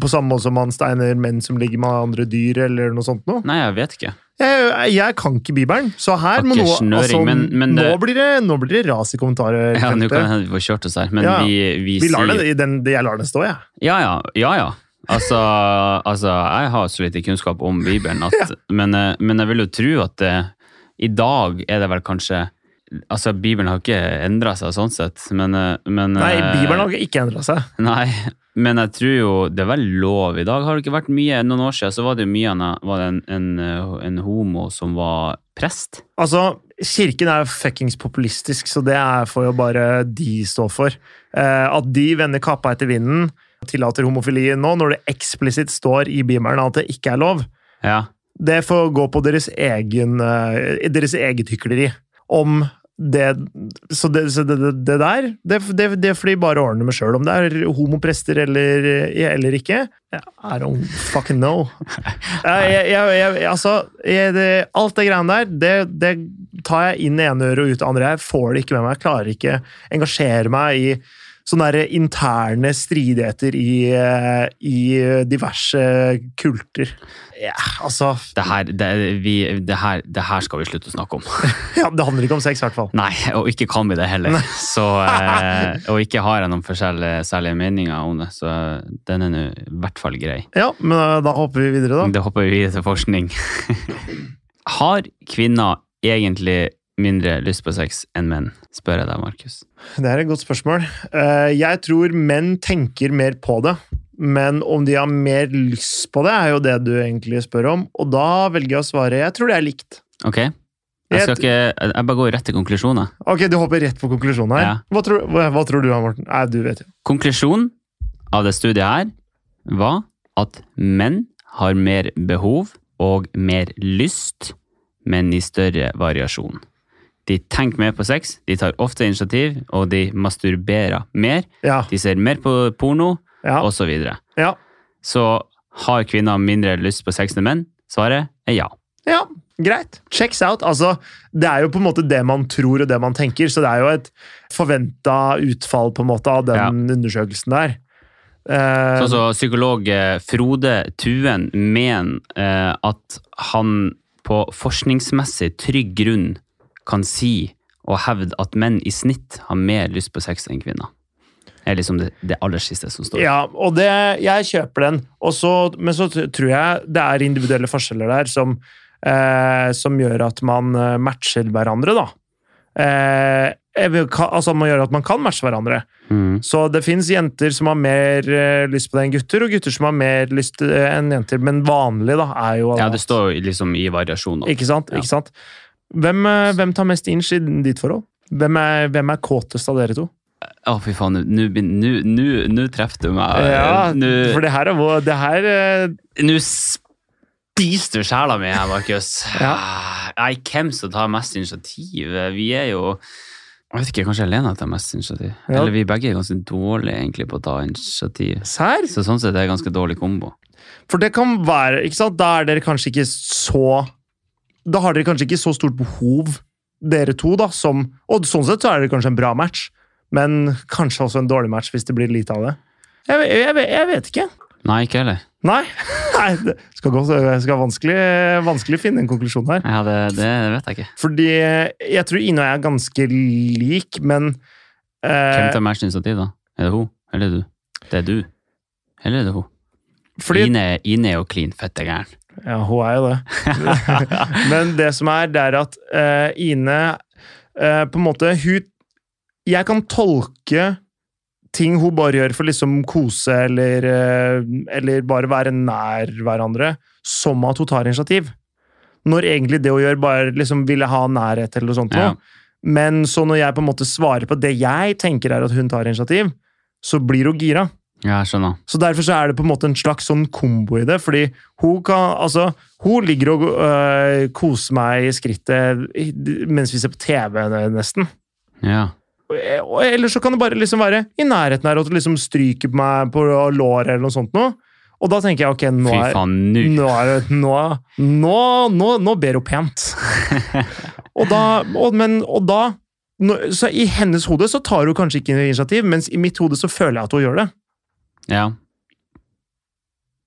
på samme måte som man steiner menn som ligger med andre dyr eller noe sånt nå. Nei, jeg vet ikke. Jeg, jeg kan ikke Bibelen, så her må Har ikke noe snøring, altså, men- men det- nå, blir det, nå blir det ras i kommentarer. Ja, nå kan det hende vi får kjørt oss her, men Ja, ja. vi, vi, Vi lar sier det, den, jeg lar den stå, jeg. Ja, ja. ja, ja. Altså, [LAUGHS] altså, jeg har så lite kunnskap om Bibelen, at, men, eh, men jeg vil jo tro at eh, i dag er det vel kanskje Altså, Bibelen har ikke endra seg sånn sett, men, eh, men Nei, eh, Bibelen har ikke endra seg. Nei, men jeg tror jo det er vel lov i dag. Har det ikke vært mye Noen år siden så var det jo mye annet- var det en, en, eh, en homo som var prest. Altså, kirken er jo fuckings populistisk, så det er- får jo bare de stå for. Eh, at de vender kappa etter vinden, tillater homofili nå, når det eksplisitt står i Bibelen at det ikke er lov, Ja. det får gå på deres, egen, eh, deres eget hykleri. Om det Så det, så det, det, det der, det, det, det får de bare ordne med sjøl. Om det er homoprester eller, eller ikke, I don't fucking know. Jeg, jeg, jeg, jeg, altså, jeg, det, alt det greiene der, det, det tar jeg inn i ene øret og ut det andre. Jeg får det ikke med meg. Jeg klarer ikke engasjere meg i sånne der interne stridigheter i, eh, i diverse kulter. Ja, altså Det her, det, vi, det, her, det her skal vi slutte å snakke om. ja, Det handler ikke om sex, i hvert fall. Nei, og ikke kan vi det heller. Så, eh, og ikke har jeg noen forskjellige særlige meninger om det, så den er nå i hvert fall grei. Ja, men eh, da hopper vi videre, da. Det hopper vi videre til forskning. [LAUGHS] Har kvinner egentlig mindre lyst på sex enn menn? Spør jeg deg, Markus. Det er et godt spørsmål. Eh, Jeg tror menn tenker mer på det. Men om de har mer lyst på det, er jo det du egentlig spør om. Og da velger jeg å svare jeg tror det er likt. Ok? Jeg, skal ikke, jeg bare går rett til konklusjoner. Ok, Du hopper rett på konklusjonen her. Ja. Hva, tror, hva, hva tror du, Morten? Nei, du vet jo. Konklusjonen av det studiet her var at menn har mer behov og mer lyst, men i større variasjon. De tenker mer på sex, de tar ofte initiativ, og de masturberer mer. Ja, De ser mer på porno, ja, osv. Så, videre. ja, så har kvinner mindre lyst på sex enn menn? Svaret er ja. ja. Greit. Checks out. Altså, det er jo på en måte det man tror og det man tenker, så det er jo et forventa utfall på en måte av den Ja. undersøkelsen der. Eh, Sånn som psykolog eh, Frode Tuen mener eh, at han på forskningsmessig trygg grunn kan si og hevde at menn i snitt har mer lyst på sex enn kvinner. Det er liksom det, det aller siste som står. Ja, og det, jeg kjøper den. Og så- men så t- tror jeg det er individuelle forskjeller der som, eh, som gjør at man eh, matcher hverandre, da. Eh, jeg vil ka- altså man gjør at man kan matche hverandre. Mm. Så det fins jenter som har mer eh, lyst på det enn gutter, og gutter som har mer lyst eh, enn jenter. Men vanlig, da, er jo ja, det står jo liksom i variasjoner. Ikke sant? Ja. Ikke sant? Hvem, eh, hvem tar mest inch i ditt forhold? Hvem er, hvem er kåtest av dere to? Å, fy faen, nå- nå begyn- nå nå- nå treffer du meg. Ja, Nå- for det her er vår Det her eh, Nå spiser du sjela mi her, Markus. Nei, hvem som tar mest initiativ? Vi er jo Jeg vet ikke, kanskje Helena tar mest initiativ. Ja. Eller vi begge er ganske dårlige egentlig på å ta initiativ. Serr? Så sånn sett er det ganske dårlig kombo. For det kan være ikke sant? Da er dere kanskje ikke så Da har dere kanskje ikke så stort behov, dere to, da, som Og sånn sett så er det kanskje en bra match, men kanskje også en dårlig match hvis det blir lite av det. Jeg, ve- jeg, ve- jeg vet ikke. Nei, ikke heller. Nei. [LAUGHS] Nei det skal, gå, det skal vanskelig, vanskelig finne en konklusjon her. Ja, det, det vet jeg ikke. Fordi jeg tror Ine og jeg er ganske lik, men Hvem eh, tar mest initiativ, da? Er det hun? Eller du? Det er du. Eller er det hun? Fordi Ine, Ine er jo klin fette gæren. Ja, hun er jo det. Men det som er, det er at eh, Ine eh, på en måte hun, Jeg kan tolke ting hun bare gjør for liksom kose eller, eh, eller bare være nær hverandre, som at hun tar initiativ. Når egentlig det hun gjør, bare liksom ville ha nærhet eller noe sånt. Ja. noe. Men så når jeg på en måte svarer på det jeg tenker er at hun tar initiativ, så blir hun gira. ja, jeg skjønner. Så derfor så er det på en måte en slags sånn kombo i det, fordi hun kan Altså, hun ligger og øh, koser meg i skrittet i- mens vi ser på TV, nesten. Ja. Og- og- Eller så kan det bare liksom være i nærheten her, at du liksom stryker på meg på låret eller noe sånt noe. Og da tenker jeg ok, nå Fy er, faen, nå. nå, er det, nå, nå, nå, nå ber hun [LAUGHS] pent. og da, og, men, og da nå- så I hennes hode så tar hun kanskje ikke initiativ, mens i mitt hode så føler jeg at hun gjør det. Ja.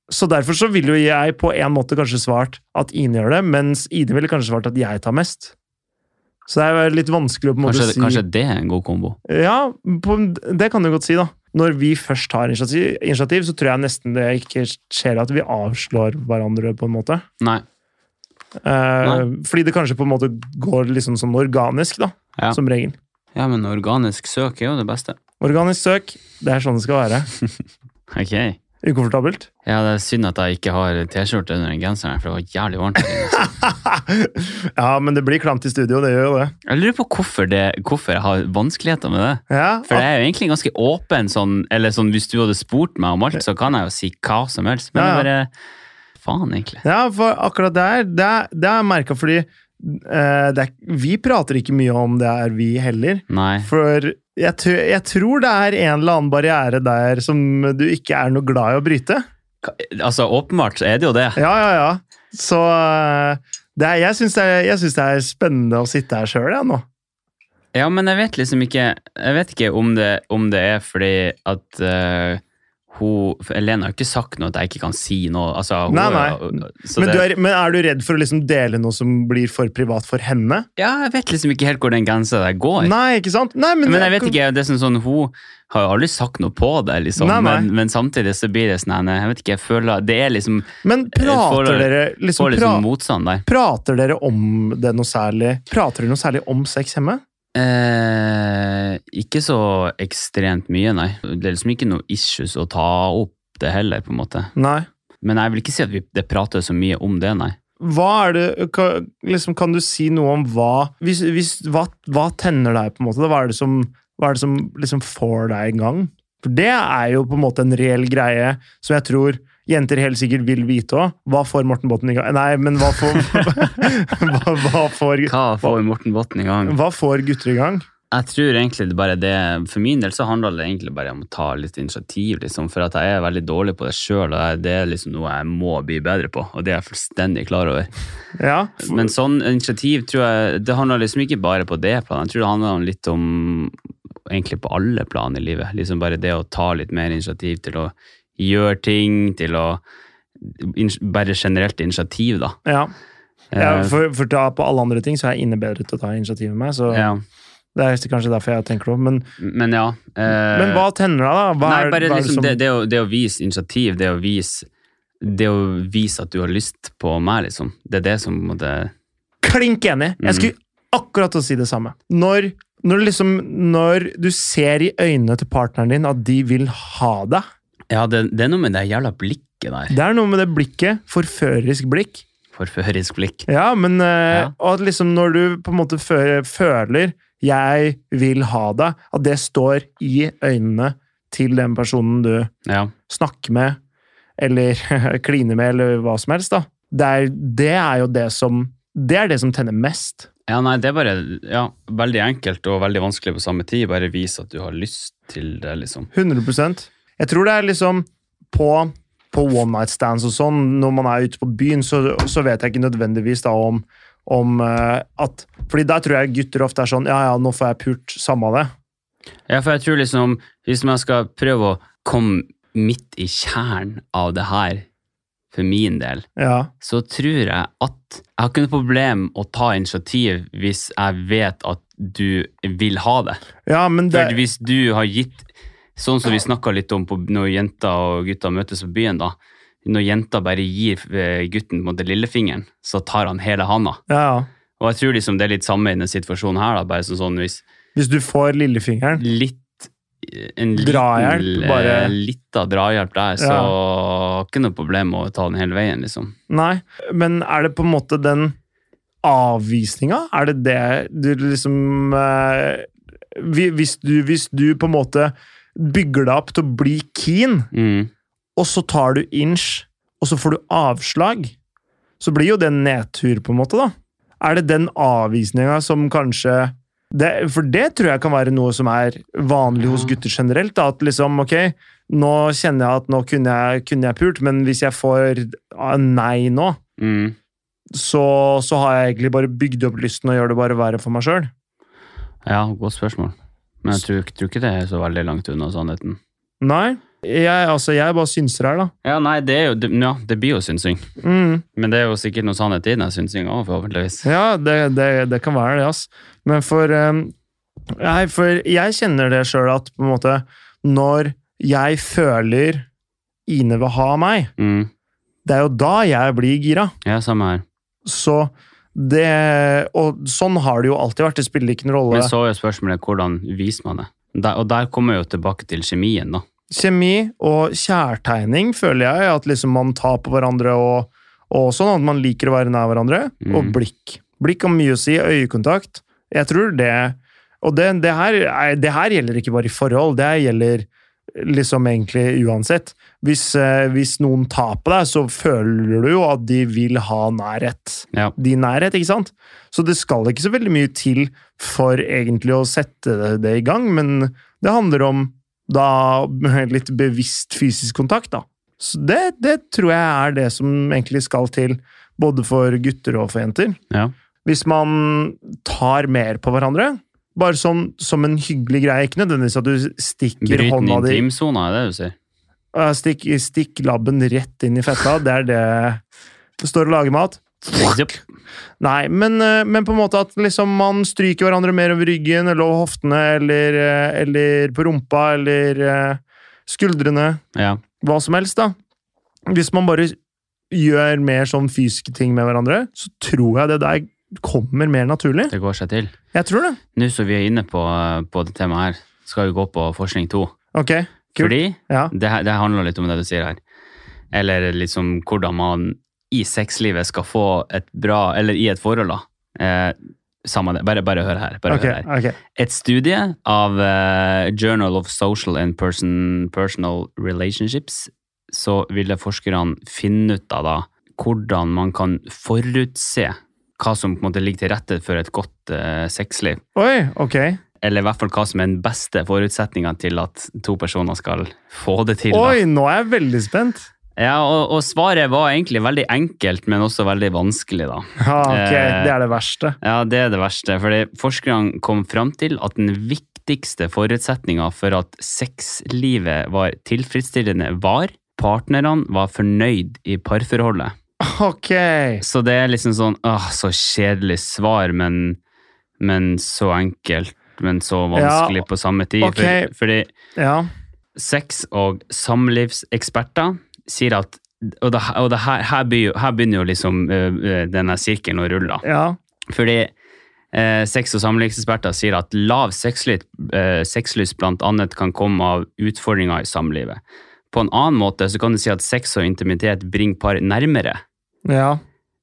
Så derfor så ville jo jeg på en måte kanskje svart at Ine gjør det, mens Ine ville kanskje svart at jeg tar mest. Så det er jo litt vanskelig å på en måte Kanskje, si kanskje det er en god kombo. Ja, på, det kan du godt si, da. Når vi først tar initiativ, initiativ, så tror jeg nesten det ikke skjer at vi avslår hverandre, på en måte. Nei. Eh, fordi det kanskje på en måte går liksom sånn organisk, da. Ja. Som regel. Ja, men organisk søk er jo det beste. Organisk søk, det er sånn det skal være. Ok. Ukomfortabelt. Ja, det er synd at jeg ikke har T-skjorte under den genseren, her, for det var jævlig varmt. ja, men det blir klamt i studio, det gjør jo det. Jeg lurer på hvorfor, det, hvorfor jeg har vanskeligheter med det. Ja, For jeg er jo egentlig ganske åpen, sånn, eller sånn, hvis du hadde spurt meg om alt, så kan jeg jo si hva som helst. Men Ja, det er bare Faen, egentlig. Ja, for akkurat der, det er- det har jeg merka, fordi eh, det er, vi prater ikke mye om det her, vi heller. Nei. For jeg, tr- jeg tror det er en eller annen barriere der som du ikke er noe glad i å bryte. Altså, åpenbart så er det jo det. Ja, ja, ja. Så eh, det er, jeg syns det, er- jeg syns det er spennende å sitte her sjøl, jeg, nå. Ja, men jeg vet liksom ikke Jeg vet ikke om det, om det er fordi at eh, hun for Elena har ikke sagt noe at jeg ikke kan si noe. Altså, hun, Nei, nei. Så Men, det, du er, men er du redd for å liksom dele noe som blir for privat for henne? Ja, jeg vet liksom ikke helt hvor den grensa der går. Nei, ikke sant? Nei, men, Men jeg vet ikke, det er sånn, sånn Hun har jo aldri sagt noe på det, liksom. Nei, nei. Men, men samtidig så blir det sånn Jeg vet ikke, jeg føler Det er liksom Men Får- prater dere liksom, Får litt pra, sånn motstand der. Prater dere om det noe særlig? Prater dere noe særlig om sex hjemme? Eh, ikke så ekstremt mye, nei. Det er liksom ikke noe issues å ta opp det heller, på en måte. Nei. Men jeg vil ikke si at vi, det prater så mye om det, nei. Hva er det, ka- liksom, kan du si noe om hva hvis, hvis, hva, hva tenner deg, på en måte? da? Hva er det som, hva er det som liksom får deg i gang? For det er jo på en måte en reell greie som jeg tror jenter helt sikkert vil vite òg. Hva får Morten Botten i gang? Nei, men hva får [LAUGHS] hva, hva, får, Hva får Morten Botten i gang? hva får gutter i gang? Jeg tror egentlig det bare er det For min del så handler det egentlig bare om å ta litt initiativ, liksom. For at jeg er veldig dårlig på det sjøl, og jeg- det er liksom noe jeg må bli bedre på. Og det er jeg fullstendig klar over. Ja. Men sånn initiativ tror jeg Det handler liksom ikke bare på det planet. Jeg tror det handler om litt om egentlig på alle plan i livet. Liksom bare det å ta litt mer initiativ til å gjøre ting, til å in- Bare generelt initiativ, da. ja. ja Eh, for, for da, på alle andre ting så er jeg inne bedre til å ta initiativ enn meg, så ja. det er kanskje derfor jeg tenker det òg. Men, Men ja. eh, men hva tenner deg, da? Hva nei, er- bare hva er liksom som- det, det, å, det å vise initiativ, det å vise det å vise at du har lyst på meg, liksom. Det er det som på en måte Klink enig. Mm. Jeg skulle akkurat til å si det samme. Når, når, liksom, når du ser i øynene til partneren din at de vil ha deg Ja, det, det er noe med det jævla blikket der. Det er noe med det blikket. Forførerisk blikk. Forførerisk blikk. Ja, men eh, Ja. Og at liksom når du på en måte fø- føler 'jeg vil ha deg', at det står i øynene til den personen du Ja. snakke med, eller [LAUGHS] kline med, eller hva som helst, da. Det er, det er jo det som Det er det som tenner mest. Ja, nei, det er bare ja, veldig enkelt og veldig vanskelig på samme tid. Bare vise at du har lyst til det, liksom. 100 Jeg tror det er liksom på, på one night stands og sånn, når man er ute på byen, så, så vet jeg ikke nødvendigvis da om, om eh, at Fordi der tror jeg gutter ofte er sånn Ja, ja, nå får jeg pult, samme av det. Ja, for jeg tror liksom, hvis man skal prøve å komme midt i kjernen av det her, for min del, Ja. så tror jeg at jeg har ikke noe problem å ta initiativ hvis jeg vet at du vil ha det. ja, men det For hvis du har gitt, sånn som vi snakka litt om på, når jenter og gutter møtes på byen, da. når jenta bare gir eh, gutten på en måte lillefingeren, så tar han hele handa. Ja, ja. Og jeg tror liksom det er litt samme i denne situasjonen her, da, bare sånn, sånn hvis Hvis du får lillefingeren litt eh, en liten, Drahjelp, eh, bare. litt av drahjelp der, så ikke noe problem å ta den hele veien, liksom. Nei, men er det på en måte den avvisninga? Er det det du liksom eh, hvi- hvis, du, hvis du på en måte bygger deg opp til å bli keen, Mm. og så tar du inch, og så får du avslag, så blir jo det en nedtur, på en måte, da. Er det den avvisninga som kanskje det, For det tror jeg kan være noe som er vanlig hos Ja. gutter generelt. Da, at liksom, ok, nå kjenner jeg at nå kunne jeg, kunne jeg pult, men hvis jeg får ah, nei nå, Mm. så, så har jeg egentlig bare bygd opp lysten og gjør det bare verre for meg sjøl. Ja, godt spørsmål. Men jeg tror, tror ikke det er så veldig langt unna sannheten. Nei. Jeg, altså, jeg bare synser her, da. Ja, nei, det er jo det, ja, det blir jo synsing. Mm. Men det er jo sikkert noe sannhet i den synsinga òg, forhåpentligvis. Ja, det, det, det kan være det, ass. Men for eh, Nei, for jeg kjenner det sjøl at på en måte Når jeg føler Ine vil ha meg, Mm. det er jo da jeg blir gira. Ja, samme her. Så det Og sånn har det jo alltid vært. Det spiller ikke noen rolle. Men så er jo spørsmålet hvordan viser man det? Der, og der kommer jeg jo tilbake til kjemien, da. Kjemi og kjærtegning føler jeg at liksom man tar på hverandre og, og sånn, at man liker å være nær hverandre. Mm. Og blikk. Blikk har mye å si. Øyekontakt. Jeg tror det Og det, det, her, er- det her gjelder ikke bare i forhold, det her gjelder liksom egentlig uansett. Hvis, eh, hvis noen tar på deg, så føler du jo at de vil ha nærhet Ja. din nærhet, ikke sant? Så det skal ikke så veldig mye til for egentlig å sette det- det i gang, men det handler om da litt bevisst fysisk kontakt, da. Så det, det tror jeg er det som egentlig skal til, både for gutter og for jenter. Ja. Hvis man tar mer på hverandre, bare sånn som en hyggelig greie, ikke nødvendigvis at du stikker Bryt den hånda di intimsona, er det du sier? Øh, Stikk, stikk labben rett inn i fetta, det er det det står og lager mat. Japp. Nei, men, eh, men på en måte at liksom man stryker hverandre mer over ryggen, eller over hoftene, eller, eh, eller på rumpa, eller eh, skuldrene. Ja. Hva som helst, da. Hvis man bare gjør mer sånn fysiske ting med hverandre, så tror jeg det der kommer mer naturlig. Det går seg til. Jeg tror det. Nå som vi er inne på, på det temaet her, skal vi gå på forskning to. Ok. Kult. Fordi Ja. det, her- det handler litt om det du sier her. Eller liksom hvordan man i sexlivet skal få et bra Eller i et forhold, da. Eh, samme det. Bare, bare hør her. Bare Ok, hør her. ok. Et studie av eh, Journal of Social and Person, Personal Relationships, så ville forskerne finne ut av da, hvordan man kan forutse hva som på en måte ligger til rette for et godt eh, sexliv. Oi, ok. Eller i hvert fall hva som er den beste forutsetninga til at to personer skal få det til. Da. Oi, nå er jeg veldig spent. Ja, og, og svaret var egentlig veldig enkelt, men også veldig vanskelig, da. Ja, ok. Eh. Det er det verste. Ja, det er det verste, fordi forskerne kom fram til at den viktigste forutsetninga for at sexlivet var tilfredsstillende, var partnerne var fornøyd i parforholdet. Ok. Så det er liksom sånn åh, så kjedelig svar, men, men så enkelt, men så vanskelig på samme tid. ok. For, fordi Ja. sex- og samlivseksperter sier at Og, det, og det her, her, begynner, her begynner jo liksom øh, øh, denne sirkelen å rulle, da. Ja. Fordi eh, sex- og samlivseksperter sier at lav sexlyst, eh, sexlyst blant annet kan komme av utfordringer i samlivet. På en annen måte så kan du si at sex og intimitet bringer par nærmere. Ja.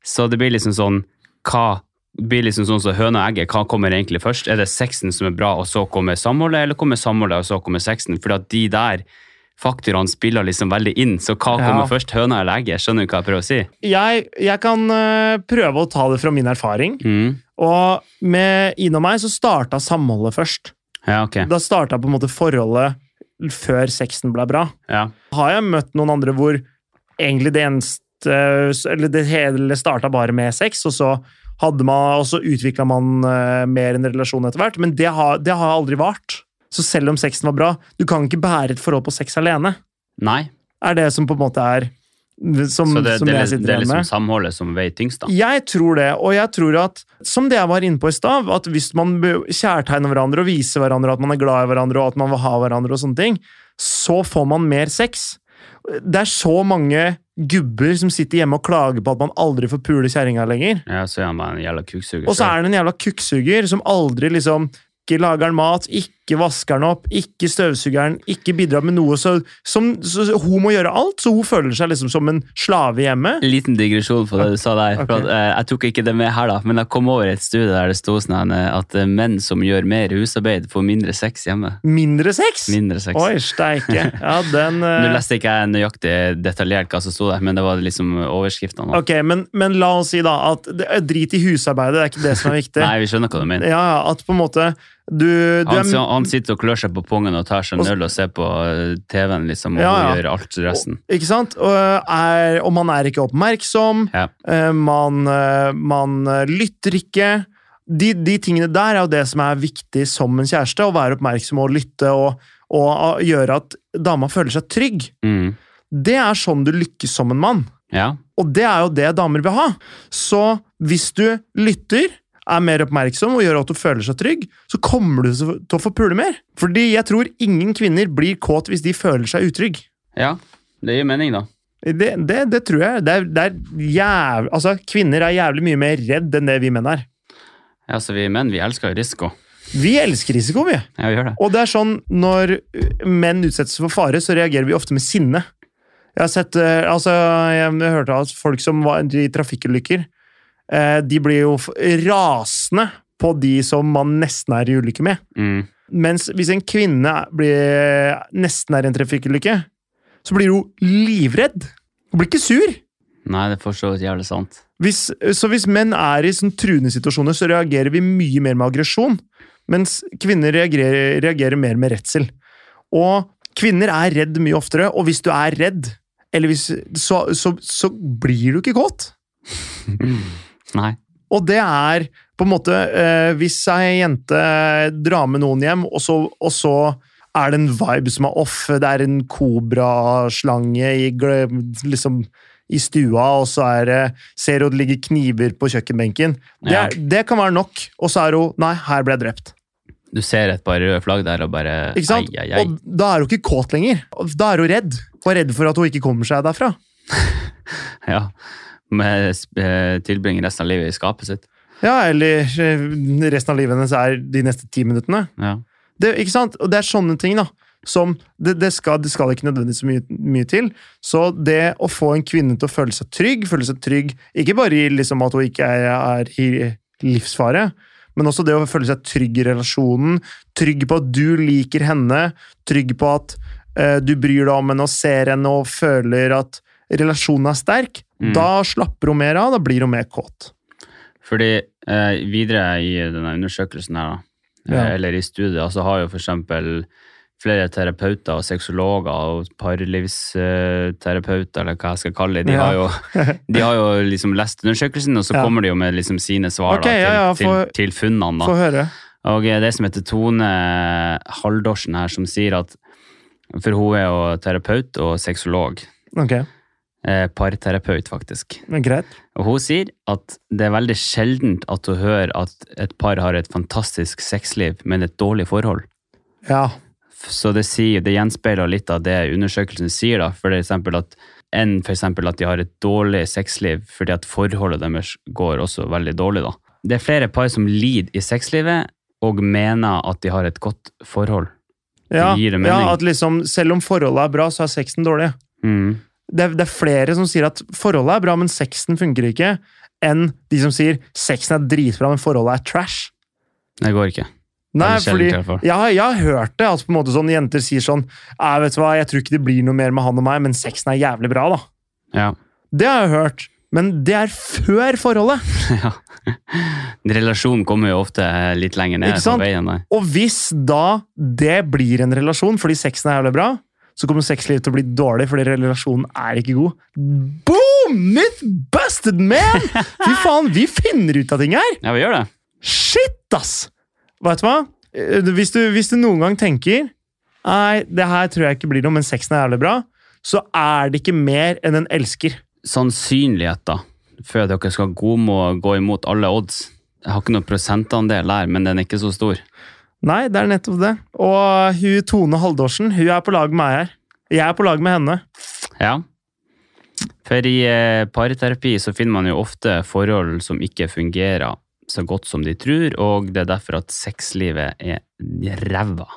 Så det blir liksom sånn hva det blir liksom sånn som høna og egget, hva kommer egentlig først? Er det sexen som er bra, og så kommer samholdet, eller kommer samholdet, og så kommer sexen? Fordi at de der faktorene spiller liksom veldig inn, så hva Ja. kommer først, høna eller egget? Skjønner du hva jeg prøver å si? jeg, jeg kan eh, prøve å ta det fra min erfaring. Mm. Og med Ine og meg så starta samholdet først. Ja, ok. Da starta på en måte forholdet før sexen ble bra. Ja. Har jeg møtt noen andre hvor egentlig det eneste Eller det hele starta bare med sex, og så hadde man, og så utvikla man eh, mer en relasjon etter hvert. Men det har, det har aldri vart. Så selv om sexen var bra Du kan ikke bære et forhold på sex alene. Nei, Er det som på en måte er Som, så det, som det, er jeg liksom- sitter det er igjen med. liksom samholdet som veier tyngst, da. Jeg tror det, og jeg tror at som det jeg var inne på i stav, at hvis man be- kjærtegner hverandre og viser hverandre at man er glad i hverandre og at man vil ha hverandre og sånne ting, så får man mer sex. Det er så mange gubber som sitter hjemme og klager på at man aldri får pule kjerringa lenger. Ja, så er han bare en jævla kuksuger. Og så er han en jævla kukksuger som aldri liksom ikke lager han mat, ikke vasker han opp, ikke støvsuger han, ikke bidrar med noe. Så, som, så så hun må gjøre alt, så hun føler seg liksom som en slave hjemme. En liten digresjon på det du sa der. For Ok. at, eh, jeg tok ikke det med her, da, men jeg kom over et studie der det sto sånn eh, at eh, menn som gjør mer husarbeid, får mindre sex hjemme. Mindre sex? Mindre sex. Oi, steike. Ja, [LAUGHS] den Nå eh, leste ikke jeg nøyaktig detaljert hva som sto der, men det var liksom overskriftene. da. Ok, men, men la oss si da at det, drit i husarbeidet, det er ikke det som er viktig. [LAUGHS] Nei, vi skjønner hva du mener. Ja, ja, at på en måte du, du Han, er så- han sitter og klør seg på pungen og tar seg en Og- øl og ser på eh, TV-en liksom, og Ja, ja. gjør alt resten. Ikke sant? Og, er, og man er ikke oppmerksom, Ja. eh, man, eh, man eh, lytter ikke. De, de tingene der er jo det som er viktig som en kjæreste, å være oppmerksom og lytte og, og ah, gjøre at dama føler seg trygg. Mm. Det er sånn du lykkes som en mann, ja. og det er jo det damer vil ha. Så hvis du lytter, er mer oppmerksom og gjør at du føler seg trygg, så kommer du til å få pule mer. Fordi jeg tror ingen kvinner blir kåt hvis de føler seg utrygg. Ja, det gir mening, da. Det, det, det tror jeg. Det er, det er jæv... Altså, kvinner er jævlig mye mer redd enn det vi menn er. Ja, så vi menn vi elsker jo risiko. Vi elsker risiko, vi. Ja, vi gjør det. Og det er sånn, når ø, menn utsettes for fare, så reagerer vi ofte med sinne. Jeg har sett, ø, altså, jeg hørte at folk som var i trafikkulykker, eh, de blir jo f- rasende på de som man nesten er i ulykke med. Mm. Mens hvis en kvinne blir, eh, nesten er i en trafikkulykke, så blir hun livredd. Hun blir ikke sur. Nei, det er for så vidt jævlig sant. Hvis, så hvis menn er i sånn truende situasjoner, så reagerer vi mye mer med aggresjon, mens kvinner reagerer, reagerer mer med redsel. Og kvinner er redd mye oftere, og hvis du er redd, eller hvis, så, så, så blir du ikke kåt. Nei. Og det er på en måte eh, Hvis ei jente drar med noen hjem, og så, og så er det en vibe som er off, det er en kobraslange i, gl- liksom, i stua, og så er det, ser hun det ligger kniver på kjøkkenbenken det, Ja. er, det kan være nok, og så er hun Nei, her ble jeg drept. Du ser et par røde flagg der og bare Ikke sant? Ai, ai, ai. Og da er hun ikke kåt lenger. Da er hun redd. Hun er redd for at hun ikke kommer seg derfra. Ja. Med eh, tilbringe resten av livet i skapet sitt. Ja, Eller eh, resten av livet hennes er de neste ti minuttene. Ja. Det, ikke sant? Og det er sånne ting da, som det, det, skal, det skal ikke nødvendigvis så mye, mye til. Så det å få en kvinne til å føle seg trygg, føle seg trygg, ikke bare i liksom at hun ikke er, er i livsfare, men også det å føle seg trygg i relasjonen, trygg på at du liker henne, trygg på at eh, du bryr deg om henne og ser henne og føler at relasjonen er sterk, Mm. da slapper hun mer av, da blir hun mer kåt. Fordi eh, videre i denne undersøkelsen her, da, eh, Ja. eller i studiet, så har jo for eksempel flere terapeuter og sexologer og parlivsterapeuter, eller hva jeg skal kalle det, de, Ja. [LAUGHS] har, jo, de har jo liksom lest undersøkelsen, og så Ja. kommer de jo med liksom sine svar Ok, ja, da, til, ja, for- til, til funnene. Da. Få høre. Og eh, det som heter Tone Haldorsen her, som sier at For hun er jo terapeut og sexolog. Ok, Eh, parterapeut, faktisk. men greit. Og hun sier at det er veldig sjeldent at hun hører at et par har et fantastisk sexliv, men et dårlig forhold. Ja, F- Så det, sier, det gjenspeiler litt av det undersøkelsen sier, da. For eksempel at enn for eksempel at de har et dårlig sexliv fordi at forholdet deres går også veldig dårlig, da. Det er flere par som lider i sexlivet og mener at de har et godt forhold. ja, gir det mening. ja at liksom, selv om forholdet er bra, så er sexen dårlig. Mm. det, er- det er flere som sier at forholdet er bra, men sexen funker ikke, enn de som sier sexen er dritbra, men forholdet er trash. Det går ikke. Nei, Veldig sjeldent, fordi i hvert fall. jeg, har- jeg har hørt det, at på en måte sånn jenter sier sånn «Nei, vet du hva, jeg tror ikke det blir noe mer med han og meg, men sexen er jævlig bra, da. Ja. [LAUGHS] Det har jeg hørt, men det er før forholdet. ja. Relasjonen kommer jo ofte litt lenger ned Ikke på sant? veien. Der. Og hvis da det blir en relasjon fordi sexen er jævlig bra, så kommer sexlivet til å bli dårlig fordi relasjonen er ikke god. Boom! Myth busted, man! Fy faen, vi finner ut av ting her! Ja, vi gjør det. Shit, ass! Vet du hva? Eh, Hvis du, hvis du noen gang tenker Nei, det her tror jeg ikke blir noe, men sexen er jævlig bra. Så er det ikke mer enn en elsker. sannsynligheter for at dere skal gå, må gå imot alle odds. Jeg har ikke noen prosentandel der, men den er ikke så stor. Nei, det er nettopp det. Og hun Tone Haldorsen, hun er på lag med meg her. Jeg er på lag med henne. Ja. For i eh, parterapi så finner man jo ofte forhold som ikke fungerer så godt som de tror, og det er derfor at sexlivet er ræva.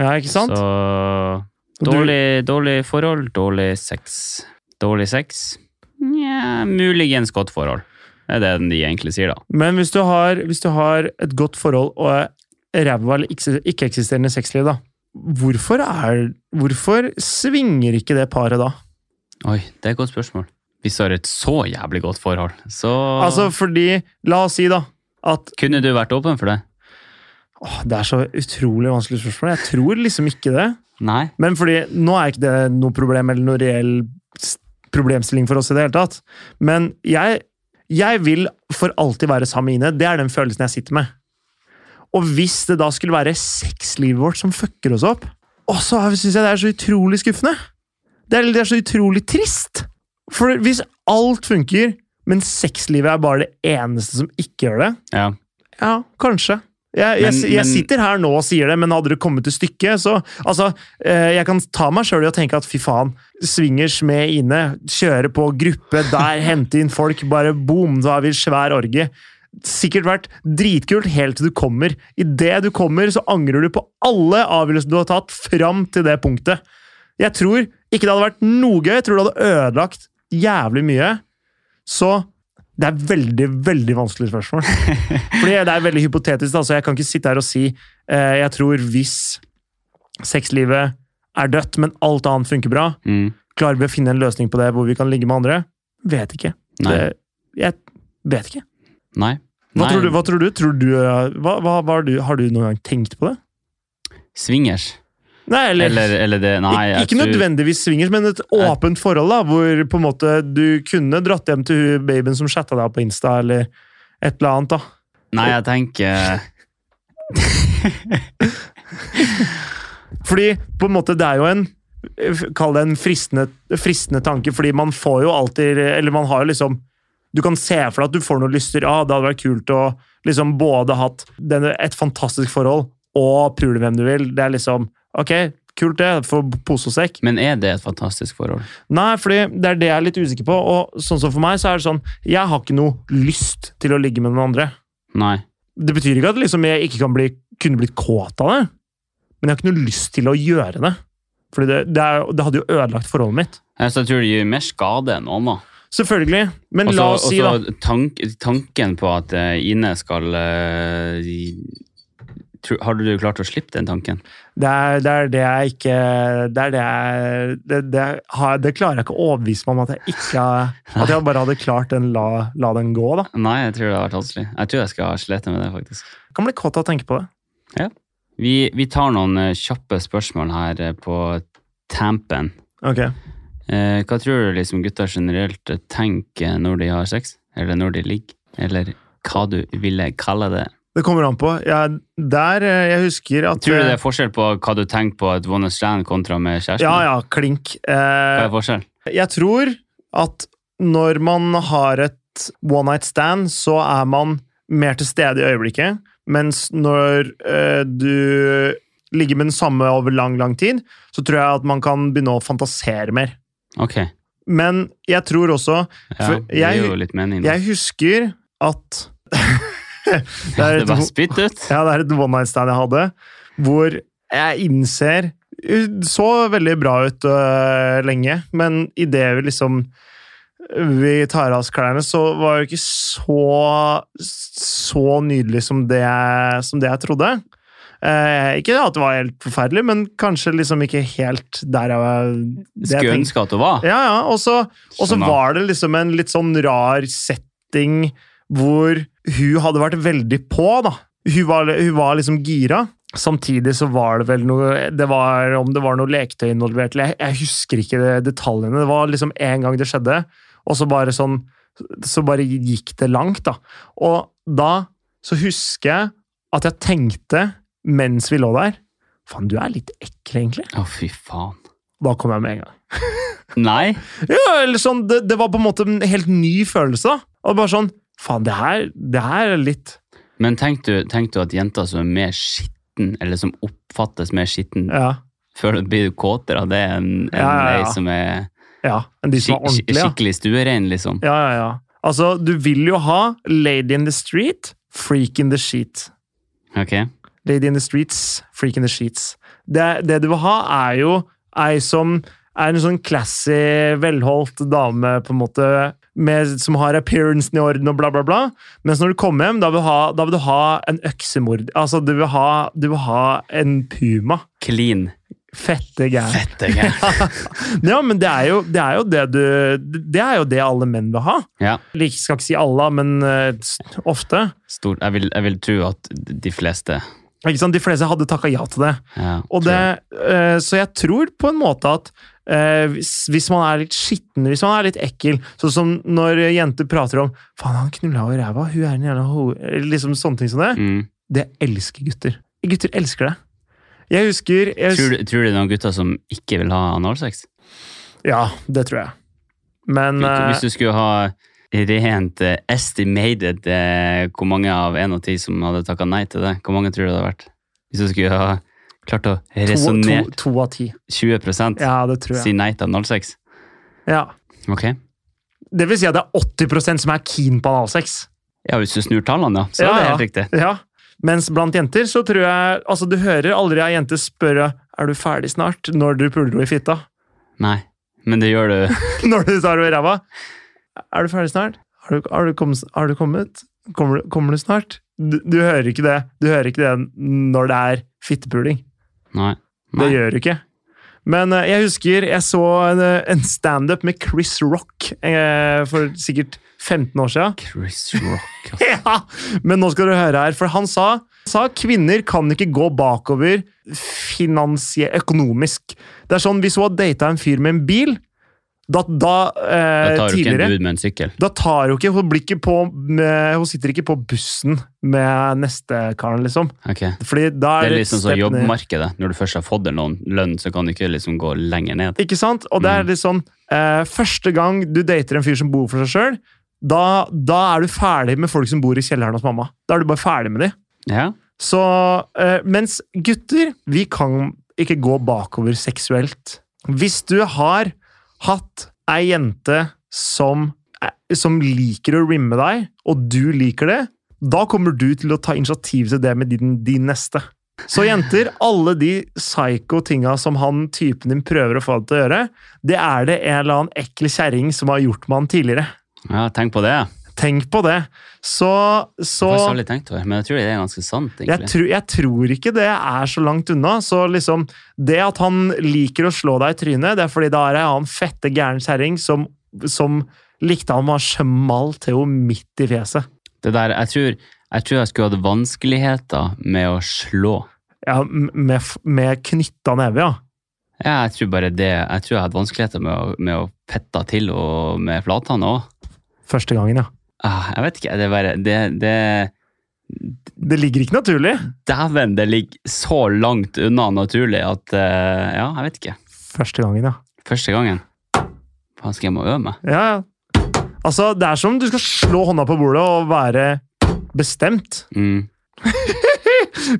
Ja, ikke sant? Så dårlig, dårlig forhold, dårlig sex. Dårlig sex? Nja, muligens godt forhold. Det er det de egentlig sier, da. Men hvis du har, hvis du har et godt forhold og er ræva eller ikke- ikke-eksisterende sexliv, da, hvorfor, er, hvorfor svinger ikke det paret da? Oi, det er et godt spørsmål. Hvis du har et så jævlig godt forhold, så Altså fordi, la oss si da, at Kunne du vært åpen for det? åh, det er så utrolig vanskelig spørsmål. Jeg tror liksom ikke det. Nei. Men fordi, nå er ikke det noe problem eller noe reell s- problemstilling for oss i det hele tatt. Men jeg, jeg vil for alltid være sammen med Ine. Det er den følelsen jeg sitter med. Og hvis det da skulle være sexlivet vårt som fucker oss opp, å, så syns jeg det er så utrolig skuffende. Det er, det er så utrolig trist. For hvis alt funker, men sexlivet er bare det eneste som ikke gjør det, Ja. ja, kanskje. Jeg, jeg, Men- jeg men- sitter her nå og sier det, men hadde det kommet til stykket, så Altså, eh, jeg kan ta meg sjøl i å tenke at fy faen, swingers med Ine, kjøre på gruppe der, [LAUGHS] hente inn folk, bare boom, da har vi svær orgie. Sikkert vært dritkult helt til du kommer. Idet du kommer, så angrer du på alle avgjørelser du har tatt fram til det punktet. Jeg tror ikke det hadde vært noe gøy. Jeg tror det hadde ødelagt jævlig mye. Så det er veldig, veldig vanskelig spørsmål. Fordi det er veldig hypotetisk, da, så jeg kan ikke sitte her og si eh, jeg tror hvis sexlivet er dødt, men alt annet funker bra, Mm. klarer vi å finne en løsning på det hvor vi kan ligge med andre? Vet ikke. Nei. Det, jeg vet ikke. Nei. Hva Nei. tror du? Hva tror du? Tror du eh, hva, hva, hva har, du, har du noen gang tenkt på det? Swingers? Nei, eller, Eller, eller det Nei, Ik- jeg ikke tror- nødvendigvis swingers, men et åpent forhold da, hvor på en måte du kunne dratt hjem til hun babyen som chatta deg på Insta, eller et eller annet. da. Nei, jeg tenker Fordi på en måte det er jo en eh, Kall det en fristende, fristende tanke, fordi man får jo alltid Eller man har jo liksom Du kan se for deg at du får noen lyster. Ja, det hadde vært kult å liksom både hatt denne, et fantastisk forhold og pule hvem du vil. Det er liksom Ok, kult det. Få pose og sekk. Men er det et fantastisk forhold? Nei, fordi det er det jeg er litt usikker på. Og sånn som for meg, så er det sånn Jeg har ikke noe lyst til å ligge med noen andre. Nei. Det betyr ikke at liksom jeg ikke kan bli, kunne blitt kåt av det, men jeg har ikke noe lyst til å gjøre det. Fordi det, det, er, det hadde jo ødelagt forholdet mitt. Altså, jeg tror det gjør mer skade enn annet. Selvfølgelig. Men Og la så- oss si, og da så tank, tanken på at eh, Ine skal eh, i- tro- Har du klart å slippe den tanken? Det er det, er det jeg ikke Det er det jeg det, det, har, det klarer jeg ikke å overbevise meg om at jeg ikke At jeg bare hadde klart den la, la den gå, da. Nei, jeg tror det har vært vanskelig. Jeg tror jeg skal slete med det, faktisk. Jeg kan bli kåt av å tenke på det. Vi, vi tar noen eh, kjappe spørsmål her eh, på tampen. Ok. Eh, hva tror du liksom gutter generelt eh, tenker når de har sex? Eller når de ligger? Eller hva du ville kalle det? Det kommer an på. Jeg, der eh, Jeg husker at Tror du det eh, er forskjell på hva du tenker på et one night stand kontra med kjæresten? Ja, ja, klink. Hva Eh, er forskjell? Jeg tror at når man har et one night stand, så er man mer til stede i øyeblikket. Mens når eh, du ligger med den samme over lang, lang tid, så tror jeg at man kan begynne å fantasere mer. Ok, ja, Men jeg tror også for det gir jeg- jo litt mening. da. Jeg husker at [LAUGHS] Det Ja, er [LAUGHS] det et bare ho- spytt ut. [LAUGHS] Ja, det er et one night stand jeg hadde, hvor jeg innser Hun så veldig bra ut øh, lenge, men idet vi liksom vi tar av oss klærne, så var hun ikke så så nydelig som det, jeg- som det jeg trodde. Eh, ikke at det var helt forferdelig, men kanskje liksom ikke helt der jeg det jeg Skulle tenkte. ønske at hun var. Ja, ja. Og så og så Sånn, da. var det liksom en litt sånn rar setting hvor hun hadde vært veldig på, da. Hun var, hun var liksom gira. Samtidig så var det vel noe det var, Om det var noe leketøy involvert eller jeg, jeg husker ikke det, detaljene. Det var liksom én gang det skjedde, og så bare sånn Så bare gikk det langt, da. Og da så husker jeg at jeg tenkte, mens vi lå der Faen, du er litt ekkel, egentlig. Å, fy faen. Da kom jeg med en gang. Nei? Ja, eller sånn, det, det var på en måte en helt ny følelse. da. Og bare sånn Faen, det her, det her er litt Men tenk du, tenk du at jenter som er mer skitten, eller som oppfattes mer skitten, Ja. føler blir du kåtere av det enn en Ja, ja, ja. ei som er Ja, enn de som er Skik- ordentlige. Skikkelig stuerein, liksom. Ja, ja, ja. Altså, du vil jo ha Lady in the Street, Freak in the Sheet. Ok. Lady in the Streets, Freak in the Sheets. Det, det du vil ha, er jo ei som er en sånn classy, velholdt dame, på en måte, med, som har appearancen i orden og bla, bla, bla. Mens når du kommer hjem, da vil du ha, da vil du ha en øksemord. Altså, du vil ha, du vil ha en puma. Clean. Fette gæren. Fette gæren. Ja, men det er, jo, det er jo det du Det er jo det alle menn vil ha. [LAUGHS] Ja. Eller ikke skal ikke si alle, men eh, s- ofte. Stort. Jeg, vil, jeg vil tro at de fleste Ikke sant? De fleste hadde takka ja til det. ja, Og tror det, jeg. eh, så jeg tror på en måte at eh, hvis, hvis man er litt skitten, hvis man er litt ekkel Sånn som når jenter prater om 'faen, han knulla jo i ræva', 'hun er en jævla ho', eller liksom sånne ting som det. mm. Det elsker gutter. Gutter elsker det. Jeg husker jeg tror, husker du- tror du det er noen gutter som ikke vil ha analsex? Ja, det tror jeg. Men Hvis du- eh, Hvis du skulle ha rent eh, estimated eh, hvor mange av 1 og 10 som hadde takka nei til det, hvor mange tror du det hadde vært? Hvis du skulle ha klart å eh, to, to, resonnere to av ti. 20 Ja, det tror si jeg. nei til analsex? Ja. Ok. Det vil si at det er 80 som er keen på analsex. Ja, hvis du snur tallene, ja. Så Ja, er det ja. helt riktig. Ja. Mens blant jenter så tror jeg Altså, du hører aldri ei jente spørre er du ferdig snart når du puler henne i fitta. [LAUGHS] Nei, men det gjør du. Når du tar henne i ræva. Er du ferdig snart? Har du, har du, kommet, har du kommet? Kommer, du- kommer du snart? Du, du hører ikke det Du hører ikke det når det er fittepuling. Nei. Det Nei. gjør du ikke. Men eh, jeg husker jeg så en, eh, en standup med Chris Rock eh, for sikkert 15 år siden. Chris Rock. ass. Ja, men nå skal du høre her, for han sa, sa kvinner kan ikke gå bakover finansie- økonomisk. Det er sånn, hvis hun har data en fyr med en bil, da, da, [LAUGHS] eh, Da tar du ikke en tidligere, dude med en sykkel. da tar hun ikke, hun, blir ikke på, med, hun sitter ikke på bussen med neste karen, liksom. Ok. Fordi da Det er er liksom sånn step ned. jobbmarkedet. Når du først har fått deg noen lønn, så kan du ikke liksom gå lenger ned. Ikke sant? Og det Mm. er litt sånn, eh, første gang du dater en fyr som bor for seg selv, da, da er du ferdig med folk som bor i kjelleren hos mamma. Da er du bare ferdig med dem. Ja. Så eh, mens gutter, vi kan ikke gå bakover seksuelt. Hvis du har hatt ei jente som, eh, som liker å rimme deg, og du liker det, da kommer du til å ta initiativ til det med din, din neste. Så jenter, alle de psycho tinga som han typen din prøver å få deg til å gjøre, det er det en eller annen ekkel kjerring som har gjort med han tidligere. ja, tenk på det. Tenk på det. Så, Jeg så har faktisk aldri tenkt over, men jeg tror det er ganske sant, jeg, egentlig. tro, jeg tror ikke det er så langt unna. Så liksom, det at han liker å slå deg i trynet, det er fordi det er ei annen fette gæren kjerring som, som likte han med å small til henne midt i fjeset. Det der, jeg tror jeg, tror jeg skulle hatt vanskeligheter med å slå. Ja, m- med, f- med knytta neve, ja. Ja, jeg tror bare det. Jeg tror jeg hadde vanskeligheter med å, med å pette til og med flathånd òg. Første gangen, ja. Jeg vet ikke. Det er bare det, det Det ligger ikke naturlig. Dæven, det ligger så langt unna naturlig at eh, Ja, jeg vet ikke. Første gangen, ja. Første gangen. Faen, skal jeg må øve meg? ja. ja. Altså, det er som om du skal slå hånda på bordet og være bestemt. Mm.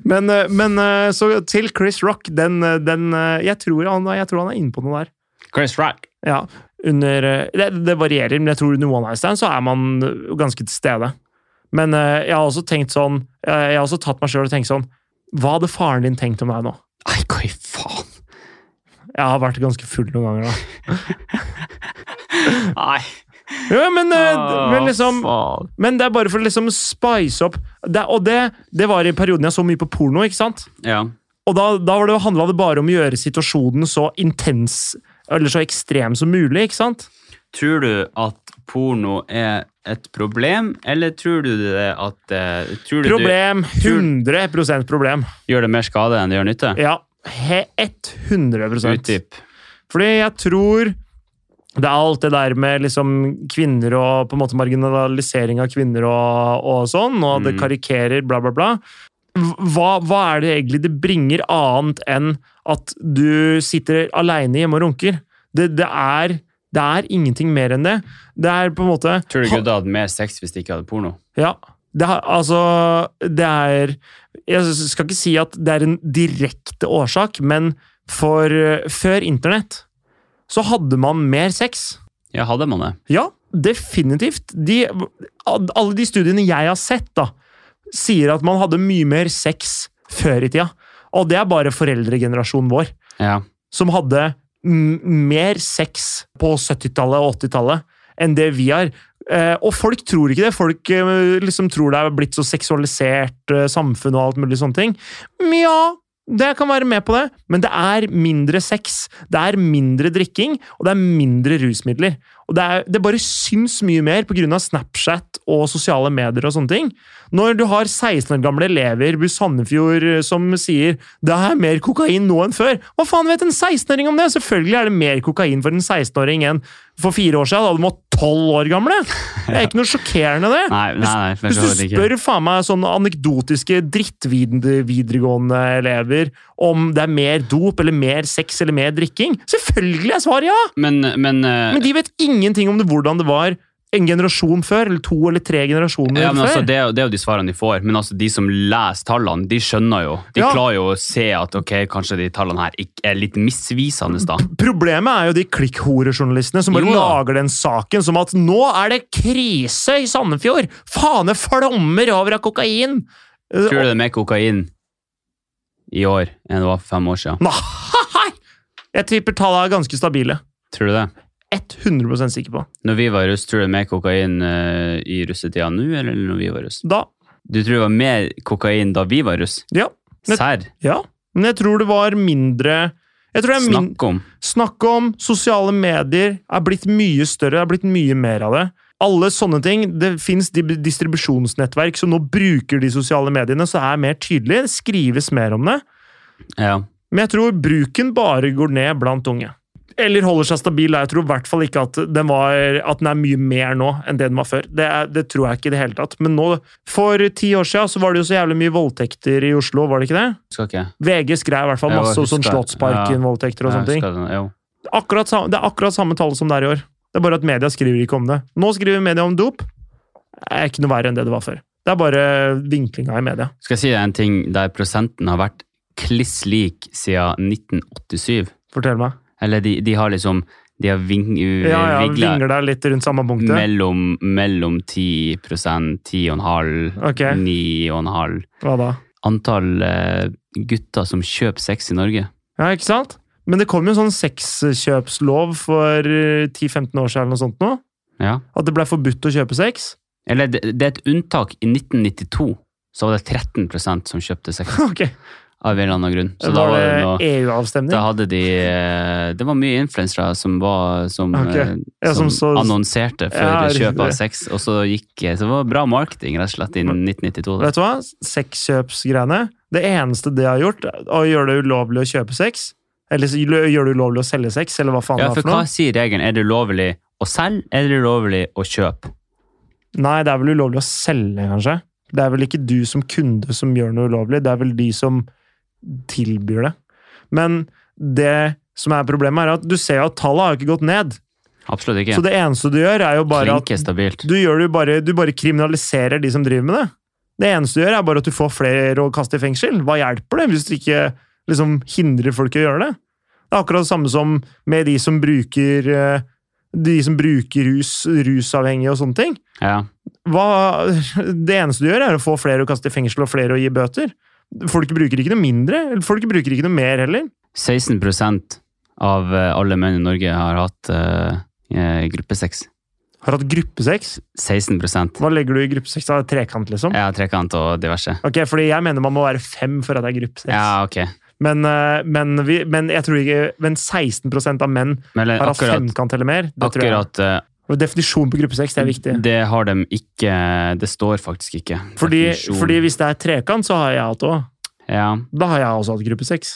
Men, eh, men eh, så til Chris Rock, den, eh, den eh, Jeg tror han, jeg tror han er inne på noe der. Chris Rock. Ja, under eh, det, det varierer, men jeg tror under One Night Stand så er man eh, ganske til stede. Men eh, jeg har også tenkt sånn eh, Jeg har også tatt meg sjøl og tenkt sånn Hva hadde faren din tenkt om meg nå? Nei, hva i faen? Jeg har vært ganske full noen ganger, da. [LAUGHS] Nei. Jo, men, eh, d- men liksom Ah, faen. Men det er bare for å liksom spice opp det, Og det, det var i perioden jeg så mye på porno, ikke sant? Ja. Og da, da var det, handla det bare om å gjøre situasjonen så intens eller så ekstrem som mulig, ikke sant? Tror du at porno er et problem, eller tror du det at eh, Tror du Problem. 100 problem. du gjør det mer skade enn det gjør nytte? Ja. he- 100 Utdyp. Fordi jeg tror det er alt det der med liksom kvinner og på en måte marginalisering av kvinner og, og sånn, og det Mm. karikerer, bla, bla, bla. Hva, hva er det egentlig det bringer annet enn at du sitter aleine hjemme og runker? Det, det, er, det er ingenting mer enn det. Det er på en måte Tror du Ha- gutta hadde mer sex hvis de ikke hadde porno? ja. Det er, altså, det er Jeg skal ikke si at det er en direkte årsak, men for eh, Før internett så hadde man mer sex. Ja, hadde man det? Ja, definitivt. De, alle de studiene jeg har sett, da, sier at man hadde mye mer sex før i tida. Og det er bare foreldregenerasjonen vår, Ja. som hadde m mer sex på 70-tallet og 80-tallet enn det vi har. Eh, og folk tror ikke det. Folk eh, liksom tror det er blitt så seksualisert eh, samfunn og alt mulig sånne ting. Men ja, det kan være med på det, men det er mindre sex. Det er mindre drikking, og det er mindre rusmidler. Og det, er, det bare syns mye mer pga. Snapchat og sosiale medier og sånne ting. Når du har 16 år gamle elever i Sandefjord eh, som sier 'det er mer kokain nå enn før', hva faen vet en 16-åring om det? Selvfølgelig er det mer kokain for en 16-åring enn for fire år siden, da de var 12 år gamle. Det er ikke noe sjokkerende, det. Nei, nei, nei. for Hvis så du vidt ikke. spør faen meg sånne anekdotiske drittvideregående elever om det er mer dop eller mer sex eller mer drikking, selvfølgelig er svaret ja! Men, men, eh, Men de vet ingenting om det, hvordan det var en generasjon før, eller to eller tre generasjoner ja, men altså, før. det, er jo- det er jo de svarene de får, men altså, de som leser tallene, de skjønner jo. De Ja. klarer jo å se at ok, kanskje de tallene her ikke- er litt misvisende. da. Problemet er jo de klikkhorejournalistene som bare Jo da. lager den saken som at nå er det krise i Sandefjord! Fane flommer over av kokain! Eh, Tror du det er mer kokain i år enn det var for fem år siden? [LAUGHS] Nei! Jeg tipper tallene er ganske stabile. Tror du det? 100 sikker på. Når vi var russ, tror du det er mer kokain eh, i russetida nå, eller når vi var russ? Da Du tror det var mer kokain da vi var russ? Ja. Men- Serr? ja. Men jeg tror det var mindre jeg tror det er min, Snakk om. Snakk om sosiale medier er blitt mye større, det er blitt mye mer av det. Alle sånne ting, Det fins distribusjonsnettverk som nå bruker de sosiale mediene, så det er mer tydelig. Det skrives mer om det. Ja. Men jeg tror bruken bare går ned blant unge. Eller holder seg stabil. da. Jeg tror i hvert fall ikke at den, var, at den er mye mer nå enn det den var før. Det, er, det tror jeg ikke i det hele tatt. Men nå, for ti år siden så var det jo så jævlig mye voldtekter i Oslo, var det ikke det? Skal ikke jeg? VG skrev i hvert fall Ja, masse om husker sånn jeg. Slottsparken-voldtekter og Ja, sånne ting. skal den- jo. Akkurat, sa- det er akkurat samme tall som det er i år. Det er bare at media skriver ikke om det. Nå skriver media om dop. Det er ikke noe verre enn det det var før. Det er bare vinklinga i media. Skal jeg si deg en ting der prosenten har vært kliss lik siden 1987? Fortell meg. Eller de, de har liksom De har ving, Ja, ja, vigla Vingler deg litt rundt samme punktet. mellom, mellom 10 10,5 Ok. 9,5 Hva da? Antall eh, gutter som kjøper sex i Norge. Ja, ikke sant? Men det kom jo en sånn sexkjøpslov for eh, 10-15 år siden eller noe sånt nå. Ja. At det ble forbudt å kjøpe sex. [LAUGHS] Eller det, det er et unntak. I 1992 så var det 13 som kjøpte sex. [LAUGHS] Ok, Av en eller annen grunn. Så da Var var det noe det E Da EU-avstemning? hadde de eh, Det var mye influensere som var som, Ok. eh, Ja, som, som så- annonserte for Ja, kjøp av riktig. sex, og så gikk eh, Så det var bra marketing, rett og slett, i 1992. da. Vet du hva? Sexkjøpsgreiene. Det eneste det har gjort, er å gjøre det ulovlig å kjøpe sex. Eller så gjør det ulovlig å selge sex, eller hva faen Ja, det for er for hva noe. sier regelen? Er det ulovlig å selge, eller er det ulovlig å kjøpe? Nei, det er vel ulovlig å selge, kanskje. Det er vel ikke du som kunde som gjør noe ulovlig, det er vel de som tilbyr det. Men det som er problemet, er at du ser jo at tallet har jo ikke gått ned. Absolutt Så ikke. det eneste du gjør, er jo bare at Klinke stabilt. du, gjør det jo bare, du bare kriminaliserer de som driver med det. Det eneste du gjør, er bare at du får flere å kaste i fengsel. Hva hjelper det hvis du ikke liksom, hindrer folk i å gjøre det? Det er akkurat det samme som med de som bruker, eh, de som bruker rus, rusavhengige og sånne ting. Ja. Hva, [LAUGHS] det eneste du gjør, er å få flere å kaste i fengsel og flere å gi bøter. Folk bruker ikke noe mindre, eller folk bruker ikke noe mer heller. 16 av eh, alle menn i Norge har hatt eh, eh, gruppesex. Har hatt gruppesex. 16 Hva legger du i gruppesex? Da er det Trekant, liksom? Jeg har trekant og diverse. Ok, fordi jeg mener man må være fem for at det er gruppesex. Ja, ok. Men, eh, men, vi, men jeg tror ikke Men 16 av menn Men eh, har hatt akkurat, femkant eller mer. Det tror jeg. akkurat Mm. eh, Og definisjon på gruppe 6 det er viktig. Det har de ikke eh, Det står faktisk ikke. Fordi, Definisjon. fordi hvis det er trekant, så har jeg hatt òg. Ja. Da har jeg også hatt gruppe 6.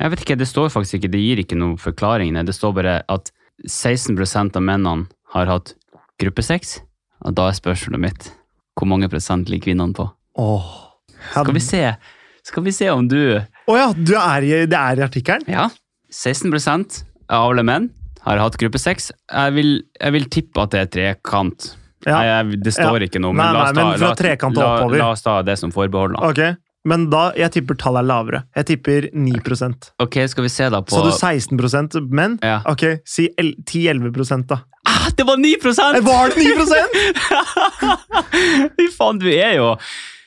Jeg vet ikke, det står faktisk ikke Det gir ikke noen forklaring. nei. Det står bare at 16 av mennene har hatt gruppesex. Og da er spørsmålet mitt hvor mange prosent ligger kvinnene på? Skal vi se, Skal vi se om du Å ja, du er i, det er i artikkelen? Ja. 16 av alle menn har hatt gruppesex. Jeg vil, jeg vil tippe at det er trekant. Ja. Nei, jeg, det står ikke noe, men, Nei, la oss nei, ta, men fra la, trekant og la, oppover. la oss ta det som forbehold. da. Ok. Men da, jeg tipper tallet er lavere. Jeg tipper 9 Ok, skal vi se da på Så du 16 menn? Ja. Ok, si 10-11 da. ah, Det var 9 Eh, Var det [LAUGHS] 9 Fy faen, du er jo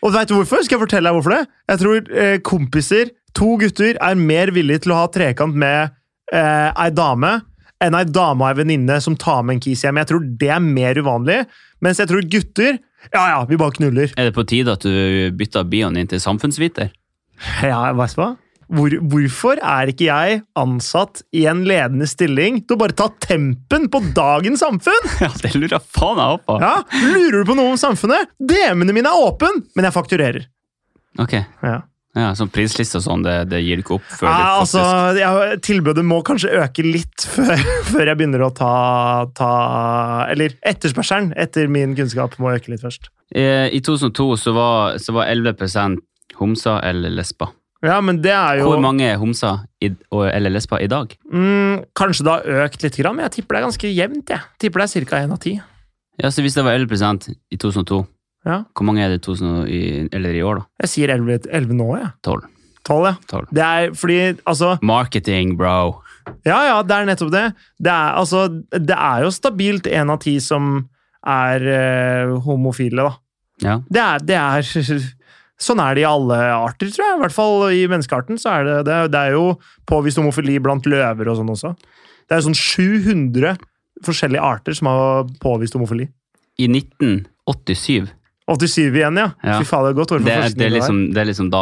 Og vet du hvorfor? Skal jeg fortelle deg hvorfor det? Jeg tror eh, kompiser, to gutter, er mer villige til å ha trekant med eh, ei dame enn ei dame og ei venninne som tar med en kis hjem. Jeg tror det er mer uvanlig. Mens jeg tror gutter Ja, ja, vi bare knuller. Er det på tide at du bytter bioen din til samfunnsviter? [LAUGHS] Ja, vet du hva? Hvor, hvorfor er ikke jeg ansatt i en ledende stilling til å bare ta tempen på dagens samfunn? Ja, det lurer jeg faen jeg opp på. Ja, Lurer du på noe om samfunnet? DM-ene mine er åpne, men jeg fakturerer. Ok, Ja. ja, sånn prisliste og sånn, det, det gir du ikke opp før Ja, du altså, faktisk jeg, tilbudet må kanskje øke litt [LAUGHS] før, før jeg begynner å ta, ta Eller etterspørselen etter min kunnskap må øke litt først. Eh, I 2002 så var, så var 11 homser eller lesber. Ja, men det er jo Hvor mange er homser i, og, eller lesber i dag? mm, Kanskje det har økt litt, grann, men jeg tipper det er ganske jevnt. jeg. Tipper det er ca. én av ti. Ja, så Hvis det var 11 i 2002, Ja. hvor mange er det i 2000, i, eller i år, da? Jeg sier 11, 11 nå, jeg. 12. 12, ja. 12. Det er fordi Altså, Marketing, bro. ja, ja, det er nettopp det. Det er, altså, det er jo stabilt én av ti som er eh, homofile, da. Ja. Det er, det er [LAUGHS] Sånn er det i alle arter, tror jeg. I hvert fall i menneskearten. så er Det det, det er jo påvist homofili blant løver og sånn også. Det er jo sånn 700 forskjellige arter som har påvist homofili. I 1987 87 igjen, ja. Ja. Fy faen, det er godt. det, er- det, er liksom, liksom, det er liksom da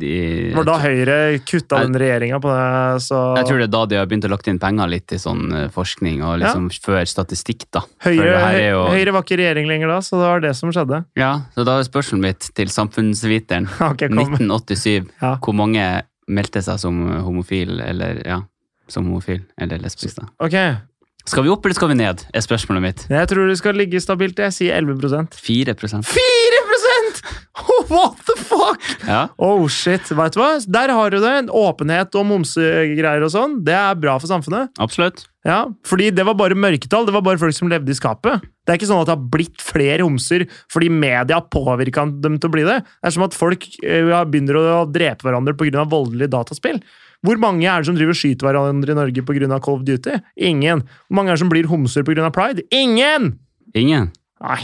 de var da Høyre kutta den regjeringa på det, så Jeg tror det er da de har begynt å lagt inn penger litt i sånn eh, forskning, og liksom før statistikk, da. For Høyre, det her er jo, Høyre var ikke i regjering lenger da, så det var det som skjedde. [LAUGHS] Ja, så da er spørsmålet mitt til samfunnsviteren. Ok, kom. 1987, Ja. hvor mange meldte seg som homofil, eller ja, som homofil, eller lesbisk, da? Ok, Skal vi opp, eller skal vi ned, er spørsmålet mitt. jeg tror det skal ligge stabilt. Jeg sier 11 4 prosent. 4 [LAUGHS] What the fuck?! Ja. Oh shit, vet du hva? Der har du det. En Åpenhet om homsegreier og sånn. Det er bra for samfunnet. Absolutt. Ja, fordi det var bare mørketall. Det var bare folk som levde i skapet. Det er ikke sånn at det har blitt flere homser fordi media påvirka dem til å bli det. Det er som at folk eh, ja, begynner å drepe hverandre pga. voldelige dataspill. Hvor mange er det som driver og skyter hverandre i Norge pga. Call of Duty? Ingen. Hvor mange er det som blir homser pga. pride? Ingen! Ingen? Nei.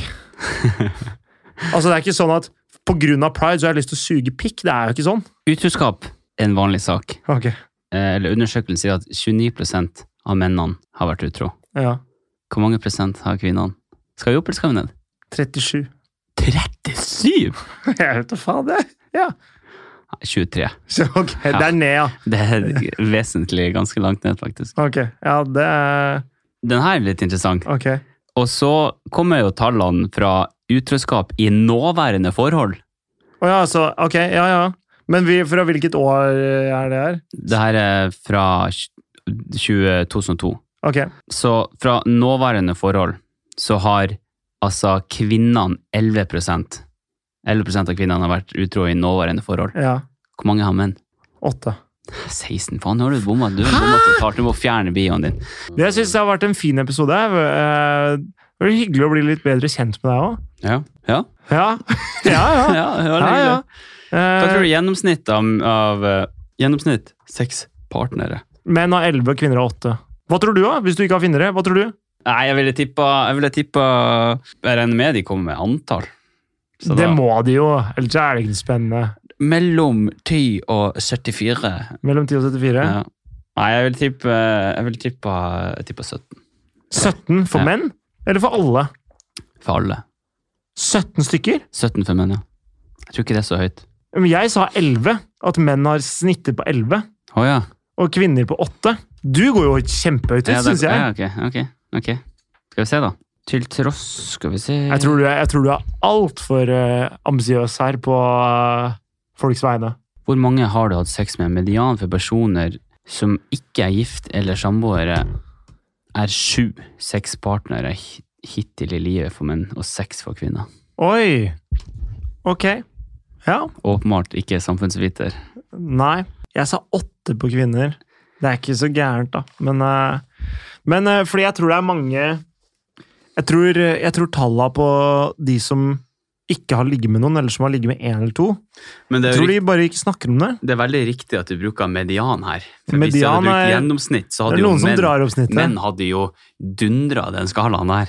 altså, det er ikke sånn at pga. pride så har jeg lyst til å suge pikk. Det er jo ikke sånn. Utroskap er en vanlig sak. Ok, Eh, Eller undersøkelsen sier at 29 prosent av mennene har vært utro. ja. Hvor mange prosent har kvinnene? Skal vi opp, eller skal vi ned? [LAUGHS] 37. 37? Jeg vet da faen, det. Ja. 23. [LAUGHS] Så, ok, Det er ned, ja. Det er vesentlig ganske langt ned, faktisk. Ok, ja, det er Den her er litt interessant. Ok. Og så kommer jo tallene fra utroskap i nåværende forhold. Å ja, så Ok, ja, ja. Men vi, fra hvilket år eh, er det her? Det her er fra tj- 20 2002. Ok. Så fra nåværende forhold så har altså kvinnene 11 11 av kvinnene har vært utro i nåværende forhold. Ja. Hvor mange har menn? Åtte. 16. Faen, nå har du bomma. Du, har bommet totalt. du må fjerne bioen din. Det jeg syns har vært en fin episode. eh, Det var hyggelig å bli litt bedre kjent med deg òg. Ja. Ja, Ja. ja, [LAUGHS] ja, ja. det var ja, ja. hyggelig. Hva Eh, tror du gjennomsnitt av, av eh, Gjennomsnitt seks partnere. Menn har elleve, kvinner har åtte. Hva tror du, da? Hvis du ikke har finnere, hva tror du? Nei, jeg ville tippa Jeg ville tippa Jeg regner med de kommer med antall. Så Det da- må de jo, ellers er det ikke spennende. Mellom 10 og 74 Mellom 10 og 74. Ja. Nei, jeg vil tippe, jeg vil tippe, jeg tipper 17 17 for Ja. menn? Eller for alle? for alle. 17 stykker? 17 for menn, ja. Jeg tror ikke det er så høyt. Men jeg sa 11. At menn har snittet på 11, Å ja. og kvinner på 8. Du går jo kjempehøyt ut, Ja, det- syns Ja, jeg. ok, ok, ok. Skal vi se, da. Til tross Skal vi se Jeg tror du er, jeg tror du er altfor uh, ambisiøs her på eh, folks vegne. Hvor mange har du hatt sex med? Median for personer som ikke er gift eller samboere, er sju. Seks partnere hi- hittil i livet for menn, og seks for kvinner. Oi! Ok. Ja. Åpenbart ikke samfunnsviter. Nei. Jeg sa åtte på kvinner. Det er ikke så gærent, da. Men, eh, men eh, fordi jeg tror det er mange Jeg tror, jeg tror talla på de som ikke har ligget med noen, eller som har ligget med én eller to. Men det er, Jeg jo tror de bare ikke snakker om det. rikt- det er veldig riktig at du bruker median her. For hvis du Median hadde brukt er- gjennomsnitt, så Det hadde er jo noen som menn, drar opp snittet. menn hadde jo dundra den skalaen der.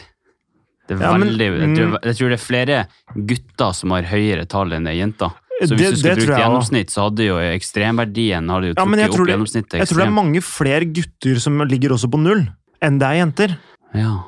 Det er Ja, men- mm. veldig, jeg, tror, jeg tror det er flere gutter som har høyere tall enn det er jenter. Så hvis du Det- det skulle brukt tror jeg også. gjennomsnitt, så hadde jo ekstremverdien hadde jo Ja, men trukket jeg tror opp det- gjennomsnittet. Jeg tror det er ekstremt. mange flere gutter som ligger også på null, enn det er jenter. Ja,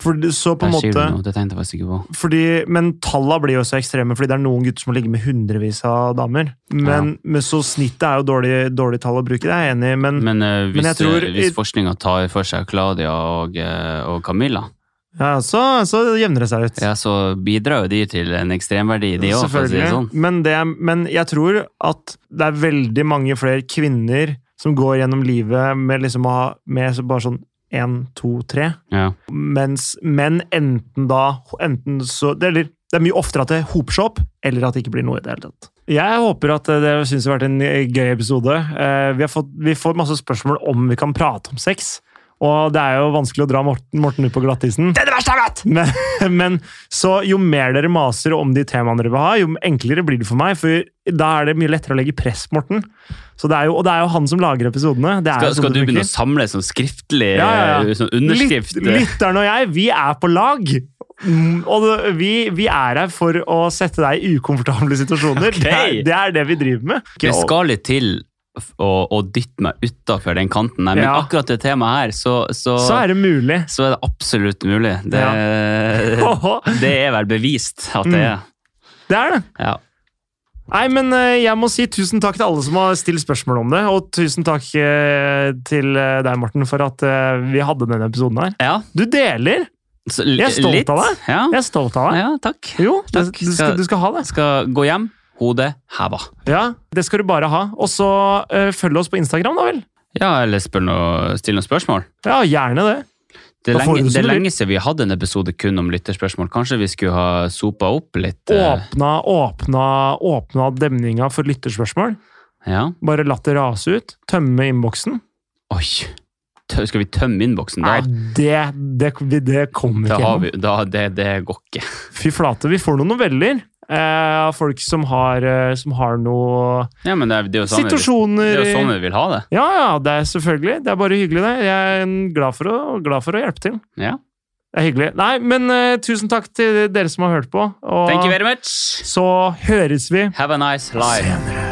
For det- så på en der sier du måte... noe. Det tenkte jeg faktisk ikke på. Fordi, men tallene blir jo så ekstreme, fordi det er noen gutter som ligger med hundrevis av damer. Men, men så snittet er jo dårlig, dårlig tall å bruke, det er jeg enig i. Mm. Men, Men, eh, hvis, jeg tror- eh, hvis forskninga tar for seg Claudia og, eh, og Camilla, ja, så, så jevner det seg ut. ja, så bidrar jo de til en ekstremverdi, de òg, for å si det sånn. Men, det, er- men jeg tror at det er veldig mange flere kvinner som går gjennom livet med liksom å ha med så bare sånn én, to, tre. Ja. Mens menn enten da enten så, det, eller, det er mye oftere at det hoper seg opp, eller at det ikke blir noe i det hele tatt. Jeg håper at eh, det synes det har vært en gøy episode. Eh, Vi, har fått, vi får masse spørsmål om vi kan prate om sex. Og det er jo vanskelig å dra Morten, Morten ut på glattisen. Det er det verste jeg vet! Men, [LAUGHS] men så jo mer dere maser om de temaene dere vil ha, jo enklere blir det for meg. For da er det mye lettere å legge press, Morten. Så det er jo, og det er jo han som lager episodene. Det er Skal, jo sånn skal du det funker. begynne å samle sånn skriftlig Ja, ja, ja. eh, Sånn underskrift? Lytt- lytteren og jeg, vi er på lag. Mm, Og det- vi, vi er her for å sette deg i ukomfortable situasjoner. Det, [LAUGHS] Ok. er, det er det vi driver med. Det skal litt til f- å, å dytte meg utafor den kanten der, men Ja. akkurat det temaet her, så, så, Og så er det [LAUGHS] mulig. så er det absolutt mulig. Det, [LAUGHS] det er vel bevist at det er. Det er det. Ja. Nei, men eh, jeg må si tusen takk til alle som har stilt spørsmål om det. Og tusen takk eh, til eh, deg, Morten, for at eh, vi hadde denne episoden her. ja. Du deler! Så li- Jeg er stolt av deg. Ja. Jeg er stolt av deg. ja, takk. Jo, du, Takk. du, skal, du skal ha det. Skal gå hjem, hodet heva. Ja, Det skal du bare ha. Og så eh, følg oss på Instagram, da vel. Ja, eller spør noe, still noen spørsmål. Ja, gjerne det. Det er, Da får lenge, du det det som er du vil. lenge siden vi hadde en episode kun om lytterspørsmål. Kanskje vi skulle ha sopa opp litt? eh, Åpna, åpna, åpna demninga for lytterspørsmål. Ja. Bare latt det rase ut. Tømme innboksen. Oi! Tø- Skal vi tømme innboksen da? Nei, det, det, det kommer Da ikke har gjennom. vi, da, det, det går ikke. Fy flate, vi får noen noveller eh, av folk som har, eh, som har noe Ja, men det er, det er jo sånn vi- Det Situasjoner er jo sånn i- vi vil ha det. Ja, ja, det er selvfølgelig. Det er bare hyggelig, det. Jeg er glad for å, glad for å hjelpe til. Ja. Det er hyggelig. Nei, men eh, tusen takk til dere som har hørt på. Thank you Og very much! så høres vi Have a nice life. senere.